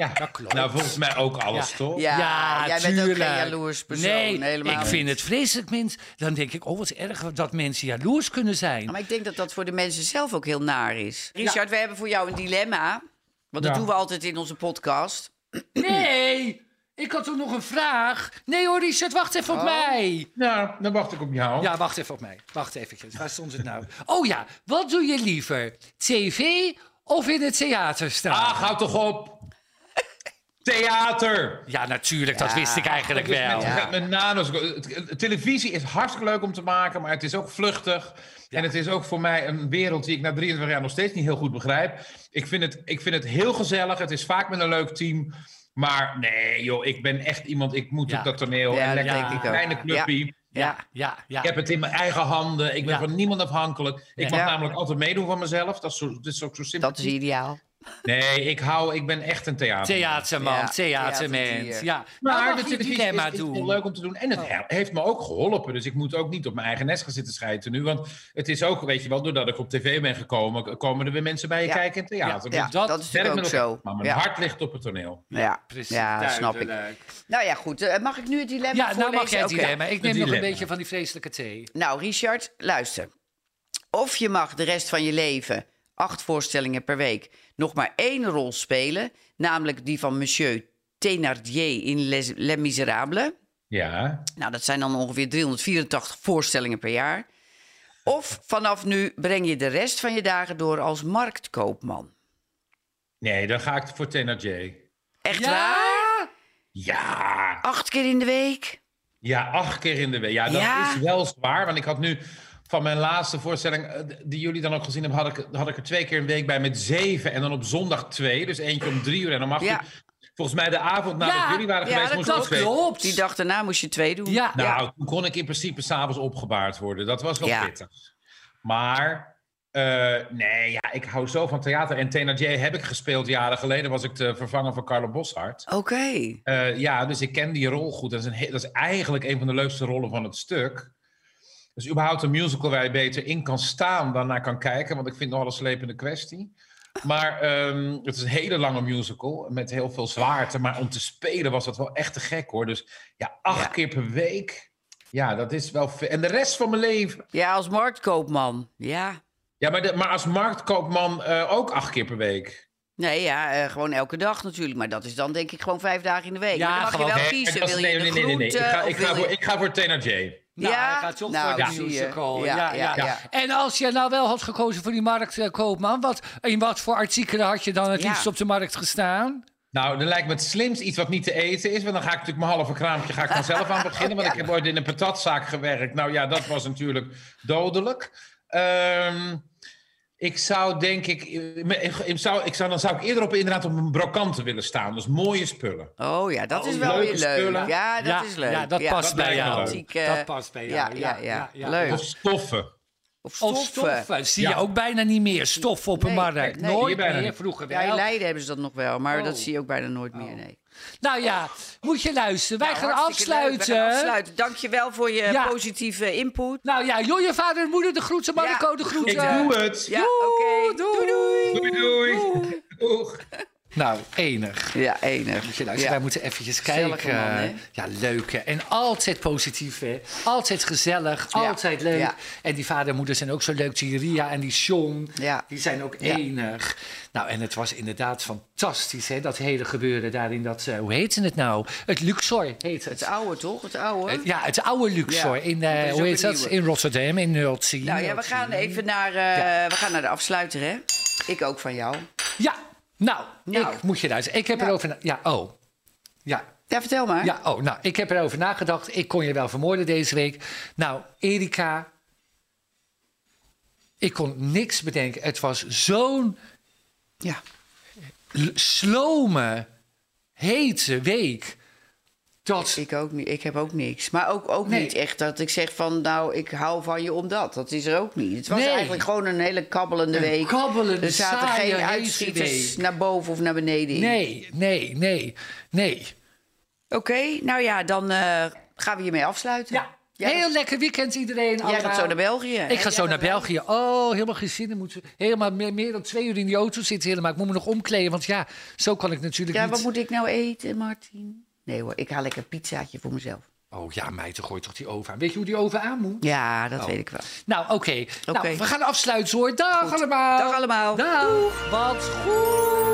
Speaker 6: Ja.
Speaker 1: dat klopt.
Speaker 6: Nou, volgens mij ook alles,
Speaker 1: Ja.
Speaker 6: toch?
Speaker 2: Ja, jij bent ook
Speaker 1: tuurlijk.
Speaker 2: geen jaloers persoon.
Speaker 1: Nee,
Speaker 2: helemaal
Speaker 1: ik
Speaker 2: niet.
Speaker 1: vind het vreselijk, mens. Dan denk ik, oh, wat erg dat mensen jaloers kunnen zijn.
Speaker 2: Maar ik denk dat dat voor de mensen zelf ook heel naar is. Richard, we hebben voor jou een dilemma. Want dat
Speaker 6: Ja.
Speaker 2: doen we altijd in onze podcast.
Speaker 1: Nee, ik had toch nog een vraag? Nee hoor, Richard, wacht even op
Speaker 2: Oh.
Speaker 1: mij.
Speaker 6: Nou, dan wacht ik op jou.
Speaker 1: Ja, wacht even op mij. Wacht eventjes, waar stond het nou? Oh ja, wat doe je liever? TV of in het theater staan?
Speaker 6: Ach, hou Ah, toch op. Theater.
Speaker 1: Ja, natuurlijk, dat
Speaker 2: Ja,
Speaker 1: wist ik eigenlijk
Speaker 6: Dus
Speaker 1: wel.
Speaker 6: met- met- met nanos. Het- het- Televisie is hartstikke leuk om te maken, maar het is ook vluchtig. En het is ook voor mij een wereld die ik na 23 jaar nog steeds niet heel goed begrijp. Ik vind het, ik vind het heel gezellig. Het is vaak met een leuk team. Maar nee, joh, ik ben echt iemand. Ik moet
Speaker 1: Ja.
Speaker 6: op dat toneel.
Speaker 2: Ja,
Speaker 6: en
Speaker 2: dat
Speaker 6: lekker
Speaker 1: denk
Speaker 6: een
Speaker 1: ik ook.
Speaker 6: kleine clubpie.
Speaker 2: Ja.
Speaker 1: Ja, ja.
Speaker 6: Ik heb het in mijn eigen handen. Ik ben
Speaker 1: Ja.
Speaker 6: van niemand afhankelijk. Ik
Speaker 1: Nee.
Speaker 6: mag
Speaker 2: Ja.
Speaker 6: namelijk altijd meedoen van mezelf. Dat is, zo, dat is ook zo simpel.
Speaker 2: Dat is ideaal.
Speaker 6: Nee, ik hou, ik ben echt een theater.
Speaker 1: Theaterman,
Speaker 2: Ja,
Speaker 1: theatermens.
Speaker 2: theaterdier.
Speaker 1: Ja,
Speaker 6: Maar
Speaker 1: nou,
Speaker 6: de
Speaker 1: mag je
Speaker 6: televisie
Speaker 1: dilemma
Speaker 6: is, is heel
Speaker 1: doen.
Speaker 6: leuk om te doen. En
Speaker 2: Oh.
Speaker 6: het he- heeft me ook geholpen. Dus ik moet ook niet op mijn eigen nest gaan zitten schijten nu. Want het is ook, weet je wel, doordat ik op tv ben gekomen... komen er weer mensen bij je
Speaker 2: Ja.
Speaker 6: kijken in theater.
Speaker 2: Ja,
Speaker 6: Dus
Speaker 1: dat
Speaker 2: dat,
Speaker 1: merk
Speaker 2: is
Speaker 6: werk
Speaker 2: natuurlijk ook
Speaker 6: met
Speaker 2: zo.
Speaker 6: elkaar. Maar mijn
Speaker 2: ja.
Speaker 6: hart ligt op het toneel.
Speaker 2: ja.
Speaker 1: Precies,
Speaker 2: ja, snap ik.
Speaker 1: duidelijk.
Speaker 2: Nou ja, goed. eh, mag ik nu het dilemma
Speaker 1: Ja, nou
Speaker 2: voorlezen?
Speaker 1: mag jij het
Speaker 2: Oké.
Speaker 1: dilemma. Ik neem nog
Speaker 6: dilemma.
Speaker 1: een beetje van die vreselijke thee.
Speaker 2: Nou, Richard, luister. Of je mag de rest van je leven, acht voorstellingen per week, nog maar één rol spelen. Namelijk die van Monsieur Thénardier in Les, Les Miserables.
Speaker 6: Ja.
Speaker 2: Nou, dat zijn dan ongeveer 384 voorstellingen per jaar. Of vanaf nu breng je de rest van je dagen door als marktkoopman.
Speaker 6: Nee, dan ga ik voor Thénardier.
Speaker 2: Echt
Speaker 1: Ja?
Speaker 2: waar?
Speaker 6: Ja.
Speaker 2: Acht keer in de week?
Speaker 6: Ja, acht keer in de week. Ja, dat
Speaker 2: Ja.
Speaker 6: is wel zwaar. Want ik had nu van mijn laatste voorstelling, eh, die jullie dan ook gezien hebben, had ik, had ik er twee keer een week bij met zeven. En dan op zondag twee. Dus eentje om drie uur en om acht
Speaker 2: Ja.
Speaker 6: uur. Volgens mij de avond nadat
Speaker 1: Ja,
Speaker 6: jullie waren
Speaker 2: ja,
Speaker 6: geweest,
Speaker 2: dat
Speaker 6: moest ik
Speaker 1: Dat
Speaker 6: ook twee.
Speaker 1: klopt.
Speaker 2: Die dag daarna moest je twee doen.
Speaker 1: Ja.
Speaker 6: Nou, toen kon ik in principe s'avonds opgebaard worden. Dat was wel
Speaker 2: Ja.
Speaker 6: pittig. Maar eh, nee, ja, ik hou zo van theater. En Thénardier heb ik gespeeld jaren geleden. Was ik de vervanger van Carlo Boshart.
Speaker 2: Oké.
Speaker 6: Eh, ja, dus ik ken die rol goed. Dat is, een he- dat is eigenlijk een van de leukste rollen van het stuk. Dus überhaupt een musical waar je beter in kan staan dan naar kan kijken. Want ik vind nogal een slepende kwestie. Maar ehm, het is een hele lange musical met heel veel zwaarte. Maar om te spelen was dat wel echt te gek hoor. Dus ja, acht keer per week. Ja, dat is wel veel. En de rest van mijn leven.
Speaker 2: Ja, als marktkoopman. Ja.
Speaker 6: Ja, maar, de- maar als marktkoopman eh, ook acht keer per week.
Speaker 2: Nee, ja, eh, gewoon elke dag natuurlijk. Maar dat is dan denk ik gewoon vijf dagen in de week.
Speaker 1: Ja,
Speaker 2: Maar dan mag
Speaker 1: gewoon-
Speaker 2: je wel
Speaker 6: Nee,
Speaker 2: kiezen.
Speaker 6: dat is-
Speaker 2: Wil
Speaker 6: nee,
Speaker 2: je de
Speaker 6: nee, nee, nee, nee. Ik
Speaker 2: groente
Speaker 6: ga,
Speaker 2: of
Speaker 6: ik ga
Speaker 2: wil
Speaker 6: voor,
Speaker 2: je-
Speaker 6: ik ga voor Thénardier.
Speaker 1: Nou,
Speaker 2: Ja?
Speaker 1: hij gaat toch
Speaker 2: Nou,
Speaker 1: voor de
Speaker 2: zie je.
Speaker 1: musical.
Speaker 2: Ja,
Speaker 1: Ja, ja,
Speaker 2: ja, ja.
Speaker 1: En als je nou wel had gekozen voor die marktkoopman, wat, in wat voor artikelen had je dan het
Speaker 2: Ja.
Speaker 1: liefst op de markt gestaan?
Speaker 6: Nou, dan lijkt me het slimst iets wat niet te eten is. Want dan ga ik natuurlijk mijn halve kraampje ga ik dan zelf aan beginnen. Want ik heb ooit in een patatzaak gewerkt. Nou ja, dat was natuurlijk dodelijk. Ehm, ik zou denk ik... Ik ik zou, ik zou, dan zou ik eerder op, inderdaad op een brokante willen staan. Dus mooie spullen.
Speaker 2: Oh ja, dat
Speaker 6: Oh,
Speaker 2: is wel weer
Speaker 6: leuke
Speaker 2: leuk.
Speaker 6: spullen.
Speaker 2: Ja, Ah, dat
Speaker 1: ja,
Speaker 2: is leuk.
Speaker 1: Ja, dat past
Speaker 6: Dat
Speaker 1: bij
Speaker 6: lijkt me
Speaker 1: jou.
Speaker 6: leuk.
Speaker 2: Antiek, eh,
Speaker 1: dat past bij jou.
Speaker 2: ja,
Speaker 1: Ja,
Speaker 2: ja, ja. Leuk.
Speaker 6: Of stoffen.
Speaker 2: Of
Speaker 1: Of
Speaker 2: stoffen.
Speaker 1: stoffen. Zie je
Speaker 6: Ja.
Speaker 1: ook bijna niet meer. Stof op een
Speaker 2: Nee,
Speaker 1: markt.
Speaker 2: nee.
Speaker 1: Nooit
Speaker 6: Hier bijna
Speaker 1: meer.
Speaker 6: niet.
Speaker 1: Vroeger
Speaker 2: Ja, in
Speaker 1: wel.
Speaker 2: Leiden hebben ze dat nog wel, maar dat
Speaker 1: Oh.
Speaker 2: zie je ook bijna nooit meer. Nee.
Speaker 1: Nou ja, moet je luisteren. Wij
Speaker 2: Nou,
Speaker 1: gaan
Speaker 2: hartstikke leuk. We gaan
Speaker 1: afsluiten.
Speaker 2: afsluiten. Dankjewel voor je
Speaker 1: Ja.
Speaker 2: positieve input.
Speaker 1: Nou ja, joh, je vader en moeder de groeten. Marco
Speaker 2: Ja.
Speaker 1: de
Speaker 6: Ik
Speaker 1: groeten.
Speaker 6: doe het.
Speaker 2: Ja, oké. Doei, doei.
Speaker 6: Doei, doei. Doeg.
Speaker 1: Nou, enig.
Speaker 2: Ja, enig.
Speaker 1: Moet je luisteren,
Speaker 2: Ja.
Speaker 1: wij moeten eventjes
Speaker 2: Gezellige
Speaker 1: kijken.
Speaker 2: man, hè?
Speaker 1: ja, leuk hè. En altijd positief hè. Altijd gezellig,
Speaker 2: Ja.
Speaker 1: altijd leuk.
Speaker 2: Ja.
Speaker 1: En die vader en moeder zijn ook zo leuk. Die Ria en die Sean,
Speaker 2: Ja.
Speaker 1: die zijn ook
Speaker 2: Ja.
Speaker 1: enig. Nou, en het was inderdaad fantastisch hè. Dat hele gebeuren daarin. Dat, eh, hoe heette het nou? Het Luxor heet het.
Speaker 2: Het oude, toch? Het oude.
Speaker 1: ja, het oude Luxor
Speaker 2: Ja.
Speaker 1: in,
Speaker 2: Want
Speaker 1: eh,
Speaker 2: er is ook
Speaker 1: hoe heet
Speaker 2: een
Speaker 1: dat?
Speaker 2: nieuwe.
Speaker 1: In Rotterdam, in Hultzien.
Speaker 2: nou ja, we gaan even naar, eh, we gaan naar de afsluiter, hè? Ik ook van jou.
Speaker 1: Ja, nou,
Speaker 2: Nou.
Speaker 1: ik moet je luisteren. Ik heb
Speaker 2: Nou.
Speaker 1: erover... na- Ja, oh. Ja,
Speaker 2: Ja, vertel maar.
Speaker 1: Ja, oh, nou, ik heb erover nagedacht. Ik kon je wel vermoorden deze week. Nou, Erika. Ik kon niks bedenken. Het was zo'n
Speaker 2: Ja.
Speaker 1: l- slome, hete week. Dat,
Speaker 2: Ik, ook, niet- ik heb ook niks. Maar ook, ook
Speaker 1: Nee.
Speaker 2: niet echt dat ik zeg van, nou, ik hou van je omdat. Dat is er ook niet. Het was
Speaker 1: Nee.
Speaker 2: eigenlijk gewoon een hele kabbelende
Speaker 1: Een
Speaker 2: week.
Speaker 1: kabbelende,
Speaker 2: er zaten
Speaker 1: saaie,
Speaker 2: geen
Speaker 1: hete
Speaker 2: uitschieters
Speaker 1: week.
Speaker 2: naar boven of naar beneden in.
Speaker 1: nee, nee, nee, nee.
Speaker 2: Oké, nou ja, dan eh, gaan we hiermee afsluiten.
Speaker 1: Ja,
Speaker 2: Jij
Speaker 1: heel
Speaker 2: gaat-
Speaker 1: lekker weekend iedereen.
Speaker 2: Jij
Speaker 1: allemaal.
Speaker 2: gaat zo naar België. hè?
Speaker 1: Ik ga zo naar België. Oh, helemaal geen zin. Dan moeten we helemaal meer, meer dan twee uur in die auto zitten. Helemaal. Ik moet me nog omkleden, want ja, zo kan ik natuurlijk
Speaker 2: Ja,
Speaker 1: niet...
Speaker 2: wat moet ik nou eten, Martin? Nee hoor, ik haal lekker een pizzaatje voor mezelf.
Speaker 1: Oh ja, meid, dan gooi toch die oven aan. Weet je hoe die oven aan moet?
Speaker 2: Ja, dat weet ik wel.
Speaker 1: Nou, oké.
Speaker 2: Oké.
Speaker 1: Nou, we gaan afsluiten hoor. Dag allemaal.
Speaker 2: Dag allemaal.
Speaker 1: Dag. Wat goed.